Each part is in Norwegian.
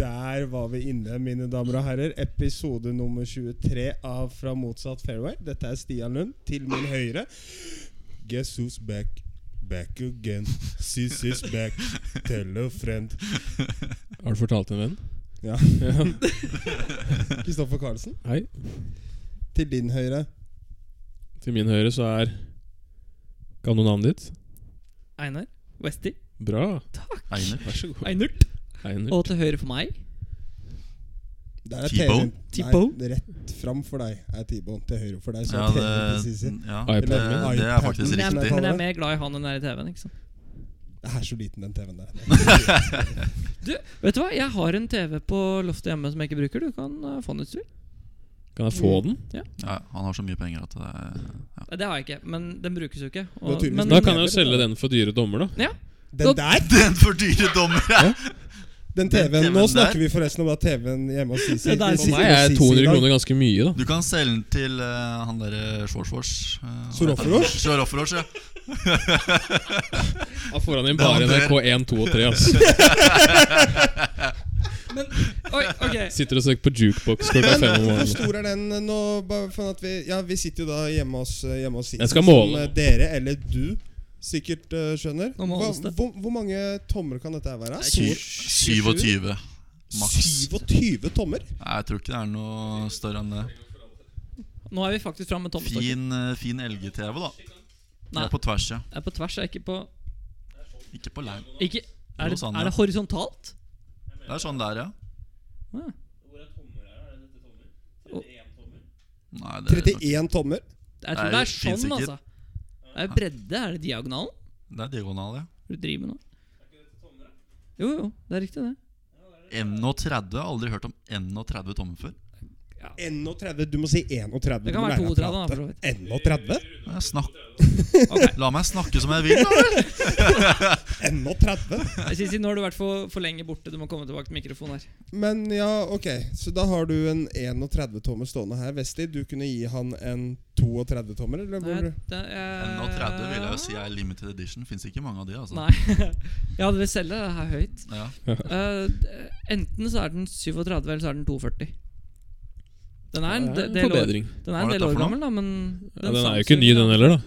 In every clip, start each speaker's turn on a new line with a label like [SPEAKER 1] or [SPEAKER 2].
[SPEAKER 1] Der var vi inne, mine damer og herrer. Episode nummer 23 av Fra motsatt fairway. Dette er Stian Lund. Til min høyre Guess who's back? Back again. Sis is back. Tell a friend.
[SPEAKER 2] Har du fortalt en venn?
[SPEAKER 1] Ja. Kristoffer Karlsen.
[SPEAKER 2] Hei.
[SPEAKER 1] Til din høyre
[SPEAKER 2] Til min høyre så er Kan du navnet ditt?
[SPEAKER 3] Einar. Westy.
[SPEAKER 2] Bra.
[SPEAKER 4] Einer.
[SPEAKER 2] Vær så god.
[SPEAKER 3] Einert.
[SPEAKER 2] Einer.
[SPEAKER 3] Og til høyre for meg
[SPEAKER 1] Der er
[SPEAKER 4] T-bone.
[SPEAKER 1] TV-en.
[SPEAKER 3] T-bone.
[SPEAKER 1] Nei, Rett fram for deg er T-bone. Til høyre for deg så
[SPEAKER 4] Ja,
[SPEAKER 1] er TV-en til
[SPEAKER 4] det,
[SPEAKER 1] Sisi.
[SPEAKER 4] ja,
[SPEAKER 2] iPad
[SPEAKER 4] det,
[SPEAKER 1] min.
[SPEAKER 4] det er faktisk
[SPEAKER 1] Nei,
[SPEAKER 3] men jeg,
[SPEAKER 4] riktig.
[SPEAKER 3] men jeg er mer glad i han enn jeg er i TV-en. ikke sant?
[SPEAKER 1] Det er så liten, den TV-en der.
[SPEAKER 3] Du, vet du hva? Jeg har en TV på loftet hjemme som jeg ikke bruker. Du kan eh, få den hvis du vil.
[SPEAKER 2] Kan jeg få den?
[SPEAKER 4] Ja, han har så mye penger at eh, det er ja.
[SPEAKER 3] Nei, Det har jeg ikke, men den brukes jo ikke.
[SPEAKER 1] Naturligvis.
[SPEAKER 3] men,
[SPEAKER 2] Da kan jeg jo selge den for dyre dommer, da.
[SPEAKER 3] ja,
[SPEAKER 1] Den der!
[SPEAKER 4] Den for dyre dommer! Ja.
[SPEAKER 1] Den
[SPEAKER 4] Den
[SPEAKER 1] TV-en, Nå
[SPEAKER 4] TV-en
[SPEAKER 1] snakker
[SPEAKER 4] der.
[SPEAKER 1] vi forresten om da TV-en hjemme hos Sisi.
[SPEAKER 3] Det der-
[SPEAKER 2] For
[SPEAKER 1] Sisi-
[SPEAKER 2] meg
[SPEAKER 1] Sisi
[SPEAKER 2] er
[SPEAKER 1] i
[SPEAKER 2] 200
[SPEAKER 1] dag.
[SPEAKER 2] kroner ganske mye, da.
[SPEAKER 4] Du kan selge den til eh, han derre Svorsvors. Uh,
[SPEAKER 1] Soroforos?
[SPEAKER 4] Soroforos, ja.
[SPEAKER 2] Da får han inn bare
[SPEAKER 4] Det er
[SPEAKER 2] NRK1, 2 og 3. Altså.
[SPEAKER 3] men Oi, ok.
[SPEAKER 2] Sitter og søker på jukebox klokka fem om
[SPEAKER 1] Men hvor
[SPEAKER 2] morgenen.
[SPEAKER 1] stor er den eh, nå? Bare for at vi, ja, vi sitter jo da hjemme hos, eh, hjemme hos Sisi.
[SPEAKER 2] Jeg skal
[SPEAKER 1] Som
[SPEAKER 2] måle.
[SPEAKER 1] eh, dere, eller du, sikkert eh, skjønner.
[SPEAKER 3] Nå
[SPEAKER 1] Hva,
[SPEAKER 3] måles det.
[SPEAKER 1] hvor, hvor mange tommer kan dette her være?
[SPEAKER 3] Nei,
[SPEAKER 4] Sy- 27. Maks.
[SPEAKER 1] 27 tommer?
[SPEAKER 4] Nei, jeg tror ikke det er noe større enn det.
[SPEAKER 3] Nå er vi faktisk framme med tommestokken.
[SPEAKER 4] Fin, eh, fin LG-TV, da. Det
[SPEAKER 3] Nei,
[SPEAKER 4] er på tvers, ja.
[SPEAKER 3] det er på tvers. Jeg er ikke på
[SPEAKER 4] Ikke på lang.
[SPEAKER 3] ikke, er,
[SPEAKER 4] Jo,
[SPEAKER 3] det,
[SPEAKER 4] sånn,
[SPEAKER 3] er det
[SPEAKER 4] ja.
[SPEAKER 3] horisontalt?
[SPEAKER 4] Det er sånn der, ja.
[SPEAKER 3] Ah,
[SPEAKER 4] Nei, det, er-
[SPEAKER 1] 31 tommer?
[SPEAKER 3] Jeg tror
[SPEAKER 4] Nei,
[SPEAKER 3] det er
[SPEAKER 4] det finnes
[SPEAKER 3] sånn,
[SPEAKER 4] ikke.
[SPEAKER 3] altså. Det er bredde. Er det diagonalen?
[SPEAKER 4] det er diagonal, ja.
[SPEAKER 3] Hva du driver med nå? Jo, jo. Det er riktig, det.
[SPEAKER 4] 31. Aldri hørt om 31 tommer før.
[SPEAKER 1] 31? Du må si 31.
[SPEAKER 3] Det kan være 32, da, for så vidt.
[SPEAKER 1] 31?
[SPEAKER 4] Jeg snakk...
[SPEAKER 3] Ok.
[SPEAKER 4] La meg snakke som jeg vil, da!
[SPEAKER 1] 31?
[SPEAKER 3] Sisi, nå har du vært for, for lenge borte. Du må komme tilbake til mikrofonen her.
[SPEAKER 1] Men ja, ok. Så da har du en 31-tommer stående her. Vesti, du kunne gi han en 32-tommer, eller? hvor-
[SPEAKER 3] Nei, det er-
[SPEAKER 4] 31 vil jeg jo si er limited edition. Fins ikke mange av de, altså.
[SPEAKER 3] Nei. Ja, du vil selge det her høyt.
[SPEAKER 4] Ja.
[SPEAKER 3] Eh, d- enten så er den 37, eller så er den 42. Den er en
[SPEAKER 2] Det er
[SPEAKER 3] de-
[SPEAKER 2] en
[SPEAKER 3] del år,
[SPEAKER 2] forbedring.
[SPEAKER 3] den er
[SPEAKER 4] Hva
[SPEAKER 3] en del
[SPEAKER 4] er dette
[SPEAKER 3] år
[SPEAKER 4] for noe?
[SPEAKER 3] gammel, da, men
[SPEAKER 2] Ja, den er jo
[SPEAKER 3] Samsung-
[SPEAKER 2] ikke ny, den heller, da.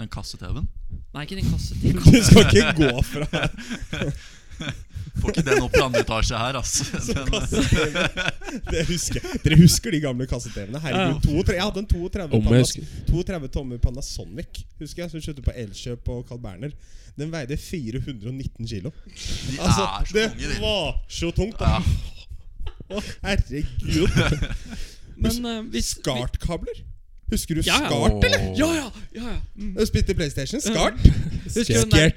[SPEAKER 4] Den kasse-TV-en.
[SPEAKER 3] Nei, ikke den kassetid.
[SPEAKER 1] Du skal ikke gå fra
[SPEAKER 4] Får ikke den opp til andre etasje her, altså. Den,
[SPEAKER 1] kasse-TV. Det husker jeg. Dere husker de gamle kasse-TV-ene? Herregud, to og tre- Jeg hadde en 32
[SPEAKER 2] Om jeg
[SPEAKER 1] Panas
[SPEAKER 2] husker.
[SPEAKER 1] 32 tommer Panasonic husker jeg, som kjøpte på Elkjøp og Carl Berner. Den veide 419 kilo.
[SPEAKER 4] eh, de
[SPEAKER 1] Altså,
[SPEAKER 4] er så
[SPEAKER 1] det
[SPEAKER 4] mange, de.
[SPEAKER 1] var så tungt!
[SPEAKER 4] Ja.
[SPEAKER 1] Da. Å, herregud.
[SPEAKER 3] Men eh, hvis
[SPEAKER 1] Skart-kabler? Husker du
[SPEAKER 3] Ja, ja.
[SPEAKER 1] Skart, eller?
[SPEAKER 3] vi- Ja, ja! ja, ja. Mm.
[SPEAKER 1] Du spilte PlayStation? Skart?
[SPEAKER 3] Husker, du den der,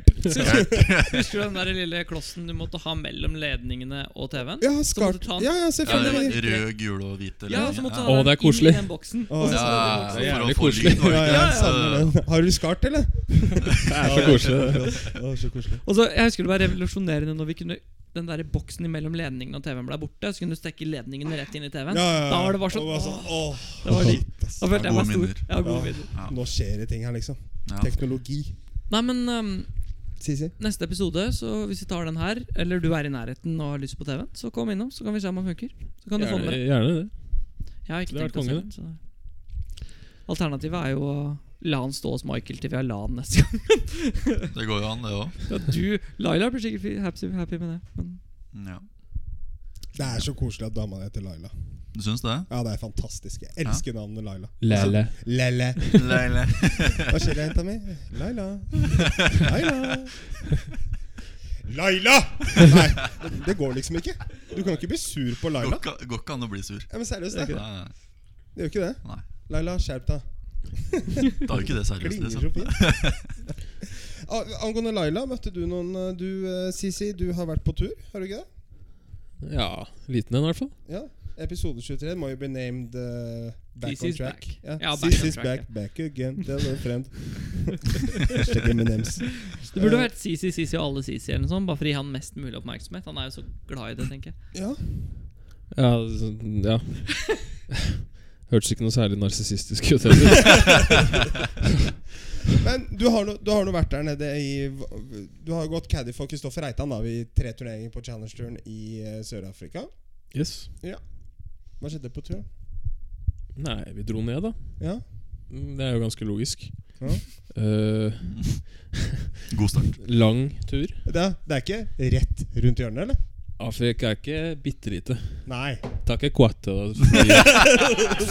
[SPEAKER 3] husker du den der lille klossen du måtte ha mellom ledningene og TV-en?
[SPEAKER 1] Ja,
[SPEAKER 3] Så måtte du
[SPEAKER 1] Skart.
[SPEAKER 3] ta den-
[SPEAKER 1] Ja, ja,
[SPEAKER 4] Ja, det
[SPEAKER 1] selvfølgelig.
[SPEAKER 4] var rød, gul og hvit. eller-
[SPEAKER 3] Ja, så måtte du
[SPEAKER 4] ja.
[SPEAKER 3] ha
[SPEAKER 2] Å,
[SPEAKER 3] den
[SPEAKER 2] det er
[SPEAKER 3] inn i
[SPEAKER 2] koselig.
[SPEAKER 3] den boksen.
[SPEAKER 1] Å,
[SPEAKER 3] Og så-
[SPEAKER 1] ja.
[SPEAKER 4] Ja,
[SPEAKER 2] Det er
[SPEAKER 4] for å
[SPEAKER 2] jævlig
[SPEAKER 4] få
[SPEAKER 2] koselig.
[SPEAKER 4] lyd, var
[SPEAKER 1] Ja,
[SPEAKER 4] det
[SPEAKER 1] ja,
[SPEAKER 4] ikke
[SPEAKER 1] jeg
[SPEAKER 4] det?
[SPEAKER 1] savner
[SPEAKER 4] Så-
[SPEAKER 1] den. Har du skart, eller?
[SPEAKER 2] Det er så koselig. det.
[SPEAKER 1] Å, så koselig.
[SPEAKER 3] Og så, jeg husker det var revolusjonerende når vi kunne den der boksen imellom ledningen og TV-en ble borte. Så kunne du stekke ledningene rett inn i TV-en. Da var det bare
[SPEAKER 1] Og
[SPEAKER 3] sånn,
[SPEAKER 1] bare sånn,
[SPEAKER 3] åh,
[SPEAKER 1] åh,
[SPEAKER 3] det var digg.
[SPEAKER 1] shit, ass.
[SPEAKER 3] Da følte jeg
[SPEAKER 4] Gode
[SPEAKER 3] meg stor.
[SPEAKER 4] minner.
[SPEAKER 3] Ja, gode
[SPEAKER 1] Ja.
[SPEAKER 3] minner.
[SPEAKER 4] Ja.
[SPEAKER 1] Nå skjer det ting her, liksom.
[SPEAKER 4] Ja.
[SPEAKER 1] Teknologi.
[SPEAKER 3] Nei, men ehm,
[SPEAKER 1] Sisi.
[SPEAKER 3] neste episode, så hvis vi tar den her, eller du er i nærheten og har lyst på TV-en, så kom innom, så kan vi se om den funker. Så kan du få den
[SPEAKER 2] Gjerne,
[SPEAKER 3] med.
[SPEAKER 2] gjerne det.
[SPEAKER 3] Jeg har ikke
[SPEAKER 2] Det er
[SPEAKER 3] tenkt å se
[SPEAKER 2] konge,
[SPEAKER 3] den. Så. Alternativet er jo å la han stå hos Michael til vi har LAN neste gang.
[SPEAKER 4] Det går jo an, det òg.
[SPEAKER 3] Ja, du, Laila blir sikkert fi- happy, happy med det. Men
[SPEAKER 4] Ja.
[SPEAKER 1] Det er så koselig at dama heter Laila.
[SPEAKER 4] Du syns det?
[SPEAKER 1] Ja, det er fantastisk. Jeg elsker navnet Laila.
[SPEAKER 2] Lele.
[SPEAKER 1] Lele.
[SPEAKER 4] Leile.
[SPEAKER 1] Hva skjer, jenta mi? Laila. Laila. Laila! Nei, det, det går liksom ikke. Du kan ikke bli sur på
[SPEAKER 4] Går
[SPEAKER 1] Laila.
[SPEAKER 4] ikke- går ikke an å bli sur.
[SPEAKER 1] Ja, men seriøst, det.
[SPEAKER 4] Nei, nei,
[SPEAKER 1] Det gjør ikke det.
[SPEAKER 4] nei.
[SPEAKER 1] Laila, skjerp deg.
[SPEAKER 4] Det er jo ikke det seriøst,
[SPEAKER 1] Klinger
[SPEAKER 4] liksom.
[SPEAKER 1] så fint. Ah, Angående Laila, møtte du noen eh, Du, eh, Sisi, du har vært på tur, har du ikke det?
[SPEAKER 2] Ja, liten en i hvert fall.
[SPEAKER 1] Ja. Episode 23 må jo bli named eh, Back on
[SPEAKER 3] Sisi's
[SPEAKER 1] track.
[SPEAKER 3] back.
[SPEAKER 1] Ja.
[SPEAKER 3] Ja, back
[SPEAKER 1] Sisi's
[SPEAKER 3] on track,
[SPEAKER 1] back, back again. Tell a friend. Hashtag M&M's.
[SPEAKER 3] Det burde vært Sisi, Sisi og alle Sisi, eller noe sånt, bare for å gi han mest mulig oppmerksomhet. Han er jo så glad i det, tenker jeg.
[SPEAKER 1] Ja.
[SPEAKER 2] Ja, så- ja. Hørtes ikke noe særlig narsissistisk ut heller.
[SPEAKER 1] Men du har, no, du har nå vært der nede i Du har gått caddy for Kristoffer Reitan da, i tre turneringer på Challenge-turen i eh, Sør-Afrika.
[SPEAKER 2] Yes.
[SPEAKER 1] Hva skjedde på turen?
[SPEAKER 2] Nei, vi dro ned, da.
[SPEAKER 1] Ja?
[SPEAKER 2] Mm, Det er jo ganske logisk.
[SPEAKER 1] Ja.
[SPEAKER 2] Eh,
[SPEAKER 4] God start.
[SPEAKER 2] lang tur.
[SPEAKER 1] Det, er- det er ikke rett rundt hjørnet, eller?
[SPEAKER 2] Afrika er ikke bitte lite.
[SPEAKER 1] Nei.
[SPEAKER 2] Det er ikke kvarte å fly,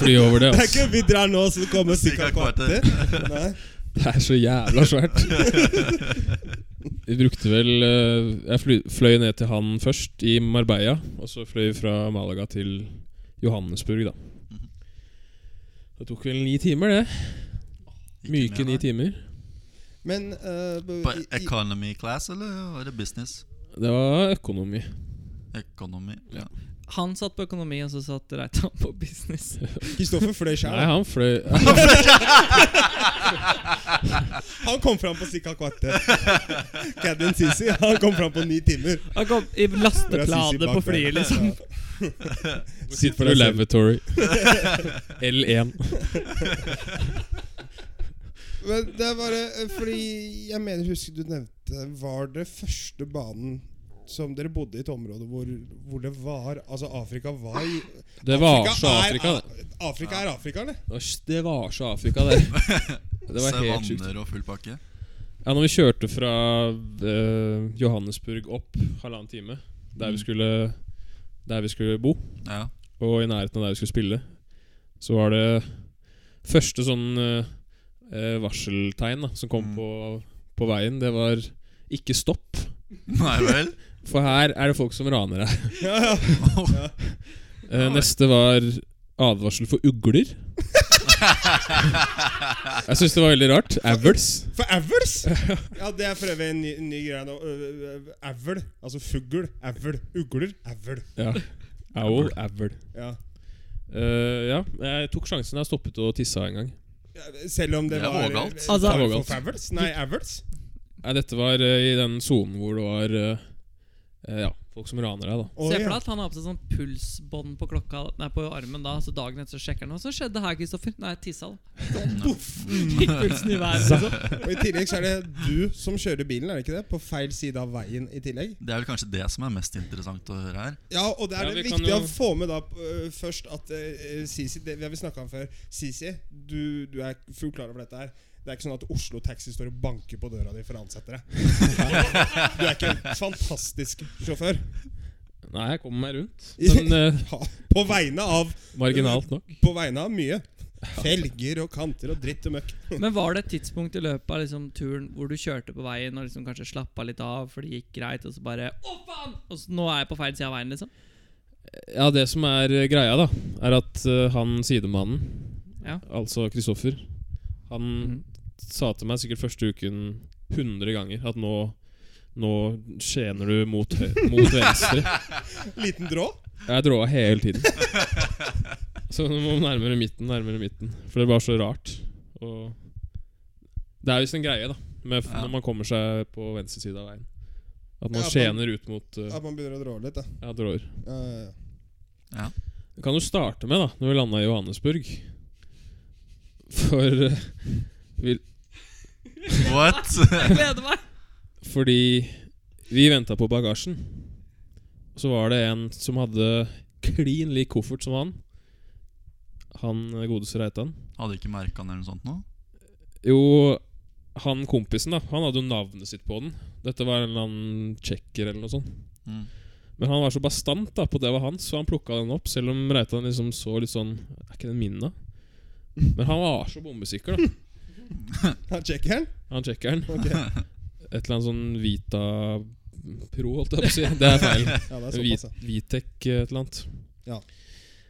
[SPEAKER 2] fly over det.
[SPEAKER 1] Det er
[SPEAKER 2] ass.
[SPEAKER 1] ikke vi drar nå, så det kommer
[SPEAKER 4] Cirka
[SPEAKER 1] cirka kvarter. Nei.
[SPEAKER 2] Det er så jævla svært. Vi brukte vel eh, Jeg fly, fløy ned til han først, i Marbella. Og så fløy vi fra Malaga til Johannesburg, da. Det tok vel ni timer, det.
[SPEAKER 4] Ikke
[SPEAKER 2] Myke
[SPEAKER 4] mer,
[SPEAKER 2] ni
[SPEAKER 4] nei.
[SPEAKER 2] timer.
[SPEAKER 1] Men eh, b-
[SPEAKER 4] På
[SPEAKER 1] i- i-
[SPEAKER 4] economy class, eller var det business?
[SPEAKER 2] Det var økonomi.
[SPEAKER 4] Economy. Ja.
[SPEAKER 3] Han satt på økonomi, og så satt Reitan på business.
[SPEAKER 1] Kristoffer fløy
[SPEAKER 2] Nei,
[SPEAKER 1] sjæl.
[SPEAKER 2] han fløy
[SPEAKER 1] Han kom fram på cirka kvarter. Caddien Sisi han kom fram på ni timer.
[SPEAKER 3] Han kom i
[SPEAKER 1] Fra Sisi
[SPEAKER 3] lasteplanet
[SPEAKER 1] bak
[SPEAKER 3] på
[SPEAKER 1] der.
[SPEAKER 3] flyet, liksom.
[SPEAKER 1] Ja.
[SPEAKER 2] Sitt
[SPEAKER 1] for
[SPEAKER 2] for
[SPEAKER 1] deg
[SPEAKER 2] deg
[SPEAKER 1] selv.
[SPEAKER 2] lavatory. L1.
[SPEAKER 1] Men det er bare eh, fordi Jeg mener, husker du nevnte Var det første banen som dere bodde i et område hvor, hvor det var Altså, Afrika var i
[SPEAKER 2] Det var så Afrika, det.
[SPEAKER 1] Er, Afrika er Afrika, eller?
[SPEAKER 2] Det var- Det var så Afrika, det. Det var helt sjukt.
[SPEAKER 4] Savanner og full pakke.
[SPEAKER 2] Ja, når vi kjørte fra eh, Johannesburg opp halvannen time, der vi, skulle, der vi skulle bo,
[SPEAKER 4] Ja.
[SPEAKER 2] og i nærheten av der vi skulle spille, så var det første sånn eh, eh, varseltegn da, som kom
[SPEAKER 4] Mm.
[SPEAKER 2] på, på veien. Det var 'ikke stopp',
[SPEAKER 4] Nei vel?
[SPEAKER 2] for her er det folk som raner deg.
[SPEAKER 1] Ja, ja.
[SPEAKER 2] Eh, neste var advarsel for ugler. Jeg syns det var veldig rart. Avls.
[SPEAKER 1] For avls! Ja, det er for øvrig en ny, ny greie nå. Ø, ø, ø, Avl. Altså fugl. Avl. Ugler. Avl.
[SPEAKER 2] Ja. Owl, avl.
[SPEAKER 1] Ja.
[SPEAKER 2] Eh, ja, jeg tok sjansen. Jeg stoppet og tissa en gang.
[SPEAKER 1] Ja, Selv om det,
[SPEAKER 4] Det er
[SPEAKER 1] var
[SPEAKER 4] vågalt.
[SPEAKER 1] eh,
[SPEAKER 3] Altså-
[SPEAKER 1] for-
[SPEAKER 2] Det er vågalt.
[SPEAKER 1] for Avls? Nei, avls?
[SPEAKER 2] Nei, dette var eh, i den sonen hvor det var eh, eh, Ja, folk som raner deg, da.
[SPEAKER 1] Å,
[SPEAKER 3] Se for deg
[SPEAKER 1] ja.
[SPEAKER 3] at han har på seg sånn pulsbånd på klokka Nei, på armen da, så dagen etter så sjekker han. Og så skjedde det her, Kristoffer. Nei, tissa han.
[SPEAKER 1] Poff.
[SPEAKER 3] Fikk pulsen i været. Liksom.
[SPEAKER 1] Og I tillegg så er det du som kjører bilen, er det ikke det? På feil side av veien i tillegg.
[SPEAKER 4] Det er vel kanskje det som er mest interessant å høre her.
[SPEAKER 1] Ja, og det er
[SPEAKER 2] Ja,
[SPEAKER 1] vel
[SPEAKER 2] vi kan
[SPEAKER 1] viktig
[SPEAKER 2] jo-
[SPEAKER 1] å få med da ø, først at ø, Sisi Det vi har snakka om før. Sisi, du, du er fullt klar over dette her. Det er ikke sånn at Oslo Taxi står og banker på døra di for å ansette deg. Du er ikke en fantastisk sjåfør.
[SPEAKER 2] Nei, jeg kommer meg rundt. Men eh,
[SPEAKER 1] Ja, på vegne av
[SPEAKER 2] marginalt nok.
[SPEAKER 1] På vegne av mye. Felger og kanter og dritt og møkk.
[SPEAKER 3] Men var det et tidspunkt i løpet av liksom, turen hvor du kjørte på veien og liksom kanskje slappa litt av, for det gikk greit, og så bare Å, faen! Og så, nå er jeg på feil side av veien, liksom.
[SPEAKER 2] Ja, det som er eh, greia, da, er at eh, han sidemannen,
[SPEAKER 3] Ja.
[SPEAKER 2] altså Kristoffer, han
[SPEAKER 3] Mhm.
[SPEAKER 2] sa til meg sikkert første uken 100 ganger at nå nå skjener du mot, høy, mot venstre.
[SPEAKER 1] Liten drå.
[SPEAKER 2] Jeg dråa hele tiden. Så nå må vi nærmere midten, nærmere midten. For det er bare så rart. Og det er visst en greie, da, med f
[SPEAKER 4] Ja.
[SPEAKER 2] når man kommer seg på venstre side av veien. At man
[SPEAKER 1] Ja, at man-
[SPEAKER 2] skjener ut mot uh,
[SPEAKER 1] At man begynner å drå litt, da.
[SPEAKER 2] ja, drår.
[SPEAKER 1] Ja, ja, ja.
[SPEAKER 2] Det kan jo starte med, da, når vi landa i Johannesburg. For uh, vi,
[SPEAKER 4] What?
[SPEAKER 3] Jeg gleder meg!
[SPEAKER 2] Fordi vi venta på bagasjen. Så var det en som hadde klin lik koffert som han. Han uh, godeste Reitan.
[SPEAKER 4] Hadde ikke merka den eller noe sånt nå?
[SPEAKER 2] Jo, han kompisen da Han hadde jo navnet sitt på den Dette var en eller annen tjekker eller noe sånt
[SPEAKER 4] Mm.
[SPEAKER 2] Men han var så bastant da på at det var hans Så han plukket den opp Selv om Reitan liksom så litt sånn Er ikke den min da? Men han var så bombesikker da
[SPEAKER 1] Han sjekker den.
[SPEAKER 2] Han tjekkeren
[SPEAKER 1] Ok. Ja,
[SPEAKER 2] Et eller annet sånn Vita Pro holdt jeg på å si Det er feil
[SPEAKER 1] det er såpass,
[SPEAKER 2] Vit,
[SPEAKER 1] ja.
[SPEAKER 2] Vitek eh, et eller annet.
[SPEAKER 1] Ja.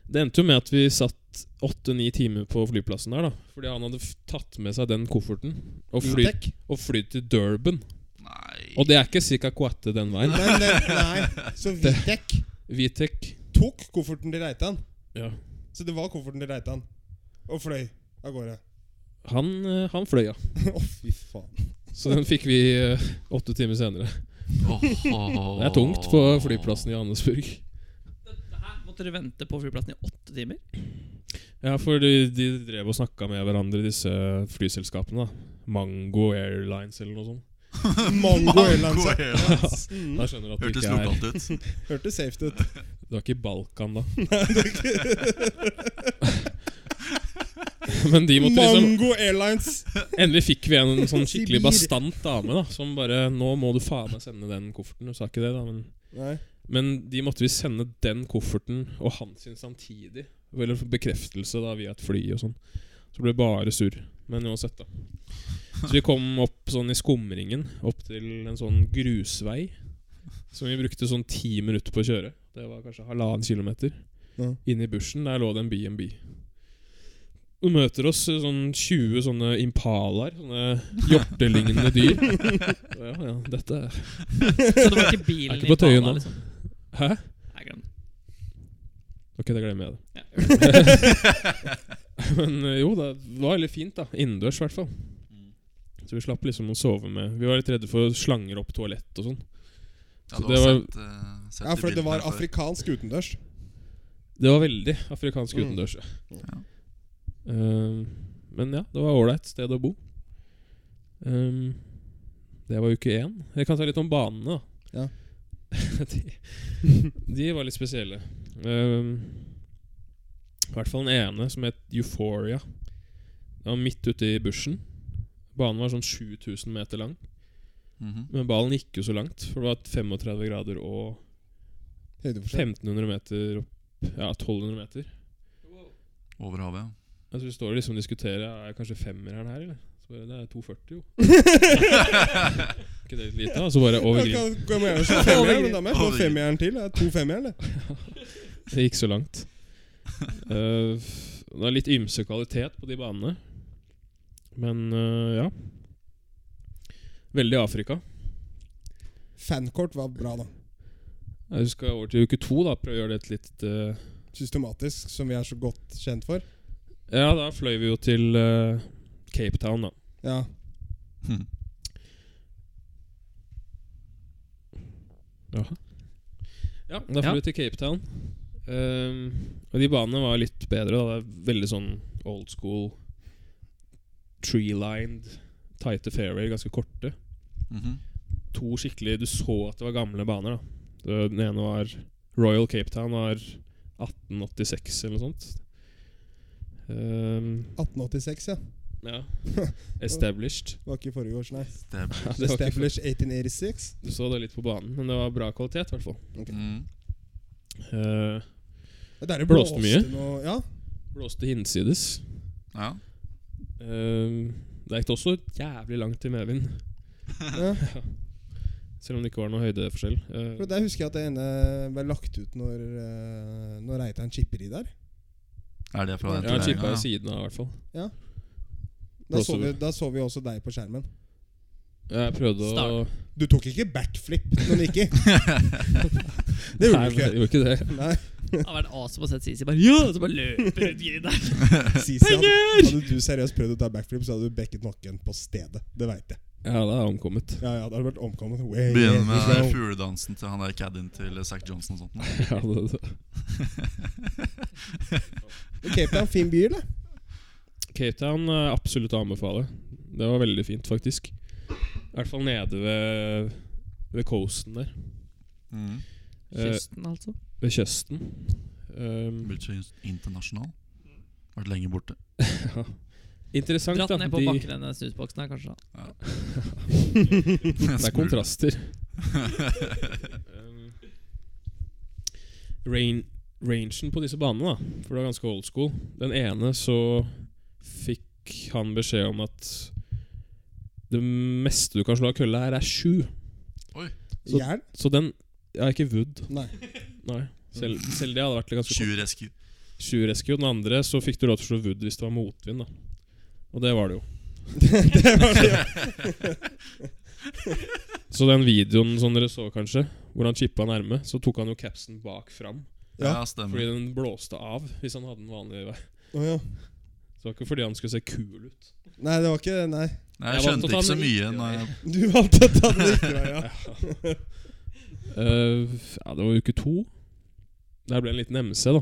[SPEAKER 2] Det endte jo med at vi satt åtte-ni timer på flyplassen der, da. Fordi han hadde f- tatt med seg den kofferten og flydd
[SPEAKER 1] Vitek?
[SPEAKER 2] og flydd til Durban.
[SPEAKER 4] Nei
[SPEAKER 2] Og det er ikke Sika Coate den veien.
[SPEAKER 1] Men, eh, nei, så Vitek
[SPEAKER 2] Vitek
[SPEAKER 1] tok kofferten til Reitan.
[SPEAKER 2] ja.
[SPEAKER 1] Så det var kofferten til Reitan. Og fløy av gårde.
[SPEAKER 2] han, eh, han fløy, ja.
[SPEAKER 1] Å, fy faen.
[SPEAKER 2] Så den fikk vi eh, åtte timer senere.
[SPEAKER 4] Åhå.
[SPEAKER 2] Det er tungt på flyplassen i Johannesburg.
[SPEAKER 3] Hæ? Måtte dere vente på flyplassen i åtte timer?
[SPEAKER 2] Ja, for de, de drev og snakka med hverandre, disse flyselskapene. da Mango Airlines eller noe sånt.
[SPEAKER 1] Mango Airlines. ja.
[SPEAKER 4] Airlines.
[SPEAKER 1] Mm.
[SPEAKER 2] Da skjønner du at det
[SPEAKER 4] Hørtes
[SPEAKER 2] ikke er
[SPEAKER 4] lokalt ut.
[SPEAKER 1] Hørtes safe ut.
[SPEAKER 2] Det var ikke Balkan, da. Men de måtte liksom
[SPEAKER 1] Mango Airlines!
[SPEAKER 2] Endelig fikk vi en sånn skikkelig
[SPEAKER 1] Sibir.
[SPEAKER 2] bastant dame da som bare 'Nå må du faen meg sende den kofferten.' Hun sa ikke det, da, men
[SPEAKER 1] Nei.
[SPEAKER 2] Men de måtte vi sende den kofferten og han sin samtidig. Eller for bekreftelse da via et fly og sånn. Så ble det bare surr. Men uansett, da. Så vi kom opp sånn i skumringen, opp til en sånn grusvei. Som vi brukte sånn ti minutter på å kjøre. Det var kanskje halvannen kilometer.
[SPEAKER 1] Ja.
[SPEAKER 2] Inne i bushen, der lå det en B&B. Du møter oss eh, sånn 20 sånne impalaer. Sånne hjortelignende dyr. Ja, ja, dette er
[SPEAKER 3] Så det var ikke bilen
[SPEAKER 2] Er ikke på tøyen nå.
[SPEAKER 3] Impala, liksom.
[SPEAKER 2] Hæ?
[SPEAKER 3] Nei, glem det.
[SPEAKER 2] Ok, det glemmer jeg. det
[SPEAKER 3] Ja.
[SPEAKER 2] Men eh, jo, det var veldig fint da Innendørs i hvert fall Så vi slapp liksom å sove med Vi var litt redde for slanger opp toalett og sånn
[SPEAKER 4] Ja,
[SPEAKER 2] Så
[SPEAKER 4] du
[SPEAKER 2] det
[SPEAKER 4] har
[SPEAKER 2] var-
[SPEAKER 4] sett, eh, sett
[SPEAKER 1] Ja,
[SPEAKER 4] de
[SPEAKER 1] for det
[SPEAKER 4] bildene
[SPEAKER 1] var
[SPEAKER 4] her før.
[SPEAKER 1] afrikansk utendørs.
[SPEAKER 2] Det var veldig afrikansk
[SPEAKER 1] Mm.
[SPEAKER 2] utendørs ja.
[SPEAKER 4] Ja.
[SPEAKER 2] Eh, Men ja, det var ålreit sted å bo Ehm, Det var uke én Jeg kan ta litt om banene da
[SPEAKER 1] Ja.
[SPEAKER 2] de, de var litt spesielle Ehm, I hvert fall den ene som het Euphoria Den var midt ute i bushen Banen var sånn 7000 meter lang
[SPEAKER 4] Mhm.
[SPEAKER 2] Men ballen gikk jo så langt, for det var 35 grader og
[SPEAKER 1] Høydeforskjell.
[SPEAKER 2] 1500 meter opp Ja, 1200 meter.
[SPEAKER 4] Over havet.
[SPEAKER 2] Altså, vi står og liksom diskuterer Er det kanskje femmer'n her, eller? Så bare, Det er 240, jo. ikke det litt lite? da? Så bare over
[SPEAKER 1] Ja,
[SPEAKER 2] grinen.
[SPEAKER 1] kan- kan man gjerne slå femmeren, men da må jeg få
[SPEAKER 4] Overgrip.
[SPEAKER 1] femmeren til. Det er to femmeren, det.
[SPEAKER 2] Det gikk så langt. Eh, det er litt ymse kvalitet på de banene. Men eh, ja. Veldig Afrika.
[SPEAKER 1] Fankort var bra, da.
[SPEAKER 2] Jeg husker over til uke to. da Prøve å gjøre det til litt eh,
[SPEAKER 1] Systematisk, som vi er så godt kjent for.
[SPEAKER 2] Ja, da fløy vi jo til eh, Cape Town, da.
[SPEAKER 1] Ja.
[SPEAKER 4] Mhm.
[SPEAKER 2] Jaha. Ja, da får
[SPEAKER 3] Ja.
[SPEAKER 2] vi til Cape Town. Ehm, og de banene var litt bedre. Da. Det er veldig sånn old school, tree-lined, tighte fairway, ganske korte.
[SPEAKER 4] Mhm.
[SPEAKER 2] To skikkelig Du så at det var gamle baner. da Det- Den ene var Royal Cape Town var 1886 eller noe sånt. Ehm,
[SPEAKER 1] 1886, ja.
[SPEAKER 2] ja. Established.
[SPEAKER 1] Det var ikke i forrige års, nei.
[SPEAKER 4] Det er-
[SPEAKER 2] Ja, det var ikke-
[SPEAKER 1] Established 1886.
[SPEAKER 2] du så det litt på banen, men det var bra kvalitet, i hvert fall.
[SPEAKER 4] Mhm.
[SPEAKER 2] Eh,
[SPEAKER 1] Ja, Der det
[SPEAKER 2] Blåste mye?
[SPEAKER 1] noe- Ja.
[SPEAKER 2] blåste hinsides.
[SPEAKER 4] Ja.
[SPEAKER 2] Ehm, det gikk også jævlig langt til medvind.
[SPEAKER 1] ja.
[SPEAKER 2] Selv om det ikke var noe høydeforskjell. Eh,
[SPEAKER 1] For Der husker jeg at det ene ble lagt ut når, eh, når Reitan chipper i der.
[SPEAKER 4] Er det fra den
[SPEAKER 2] ja, chippa i
[SPEAKER 4] turneringa?
[SPEAKER 2] siden av, i hvert fall.
[SPEAKER 1] Da
[SPEAKER 2] Blåste
[SPEAKER 1] så, vi,
[SPEAKER 2] du?
[SPEAKER 1] da så vi også deg på skjermen.
[SPEAKER 2] Jeg prøvde å
[SPEAKER 3] Start.
[SPEAKER 1] Du tok ikke backflip når du gikk i. Det gjorde du
[SPEAKER 2] Nei, jeg
[SPEAKER 1] ikke.
[SPEAKER 2] gjorde ikke det.
[SPEAKER 1] Nei,
[SPEAKER 3] Det hadde vært awesome å se Sisi bare Ja! Og så bare løper rundt grinen der.
[SPEAKER 1] Sisi, hadde, hadde du seriøst prøvd å ta backflip, så hadde du bekket nakken på stedet. Det veit jeg.
[SPEAKER 2] Ja, da er jeg omkommet.
[SPEAKER 1] Ja, ja, det hadde vært omkommet. Way
[SPEAKER 4] Begynner med den
[SPEAKER 1] down.
[SPEAKER 4] der fugledansen til han der caddien til Zack Johnson og sånt. nå.
[SPEAKER 2] Ja, det, det.
[SPEAKER 1] Cape Town, fin by, eller?
[SPEAKER 2] Cape Town er absolutt å anbefale. Det var veldig fint, faktisk. I hvert fall nede ved, ved coasten der.
[SPEAKER 4] Mhm.
[SPEAKER 2] Eh,
[SPEAKER 3] Kysten, altså.
[SPEAKER 2] ved kysten. Ehm,
[SPEAKER 4] Blitt så internasjonal. Vært lenge borte.
[SPEAKER 2] ja. Interessant,
[SPEAKER 3] Dratt
[SPEAKER 2] da.
[SPEAKER 3] ned på
[SPEAKER 2] De-
[SPEAKER 3] bakken denne snusboksen her, kanskje. da.
[SPEAKER 2] Det er kontraster. um, rain, rangen på disse banene, da for det var ganske old school Den ene så fikk han beskjed om at det meste du kan slå av kølle her, er sju. Så-
[SPEAKER 1] Jern?
[SPEAKER 2] Så den Ja, ikke Wood.
[SPEAKER 1] Nei.
[SPEAKER 2] Nei. Selv, selv det hadde vært ganske
[SPEAKER 4] Tjue rescue.
[SPEAKER 2] kort. Sju rescue. Den andre så fikk du lov til å slå Wood hvis det var motvind. da Og det var det jo.
[SPEAKER 1] det var det.
[SPEAKER 2] Så den videoen som dere så, kanskje, hvor han chippa nærme, så tok han jo capsen bak fram.
[SPEAKER 1] Ja.
[SPEAKER 4] Ja, stemmer.
[SPEAKER 2] Fordi den blåste av hvis han hadde den vanlige vei.
[SPEAKER 1] Å, ja.
[SPEAKER 2] Så det var ikke fordi han skulle se kul ut.
[SPEAKER 1] Nei, det var ikke det. Nei.
[SPEAKER 2] Jeg sånn,
[SPEAKER 4] Nei, jeg
[SPEAKER 2] valgte å
[SPEAKER 4] skjønte
[SPEAKER 2] ta
[SPEAKER 4] ikke så
[SPEAKER 2] den
[SPEAKER 4] mye
[SPEAKER 2] riktige
[SPEAKER 4] når jeg
[SPEAKER 1] Du valgte å ta den riktige veien. Ja.
[SPEAKER 2] Eh, ja, det var uke to. Der ble det en liten MC, da.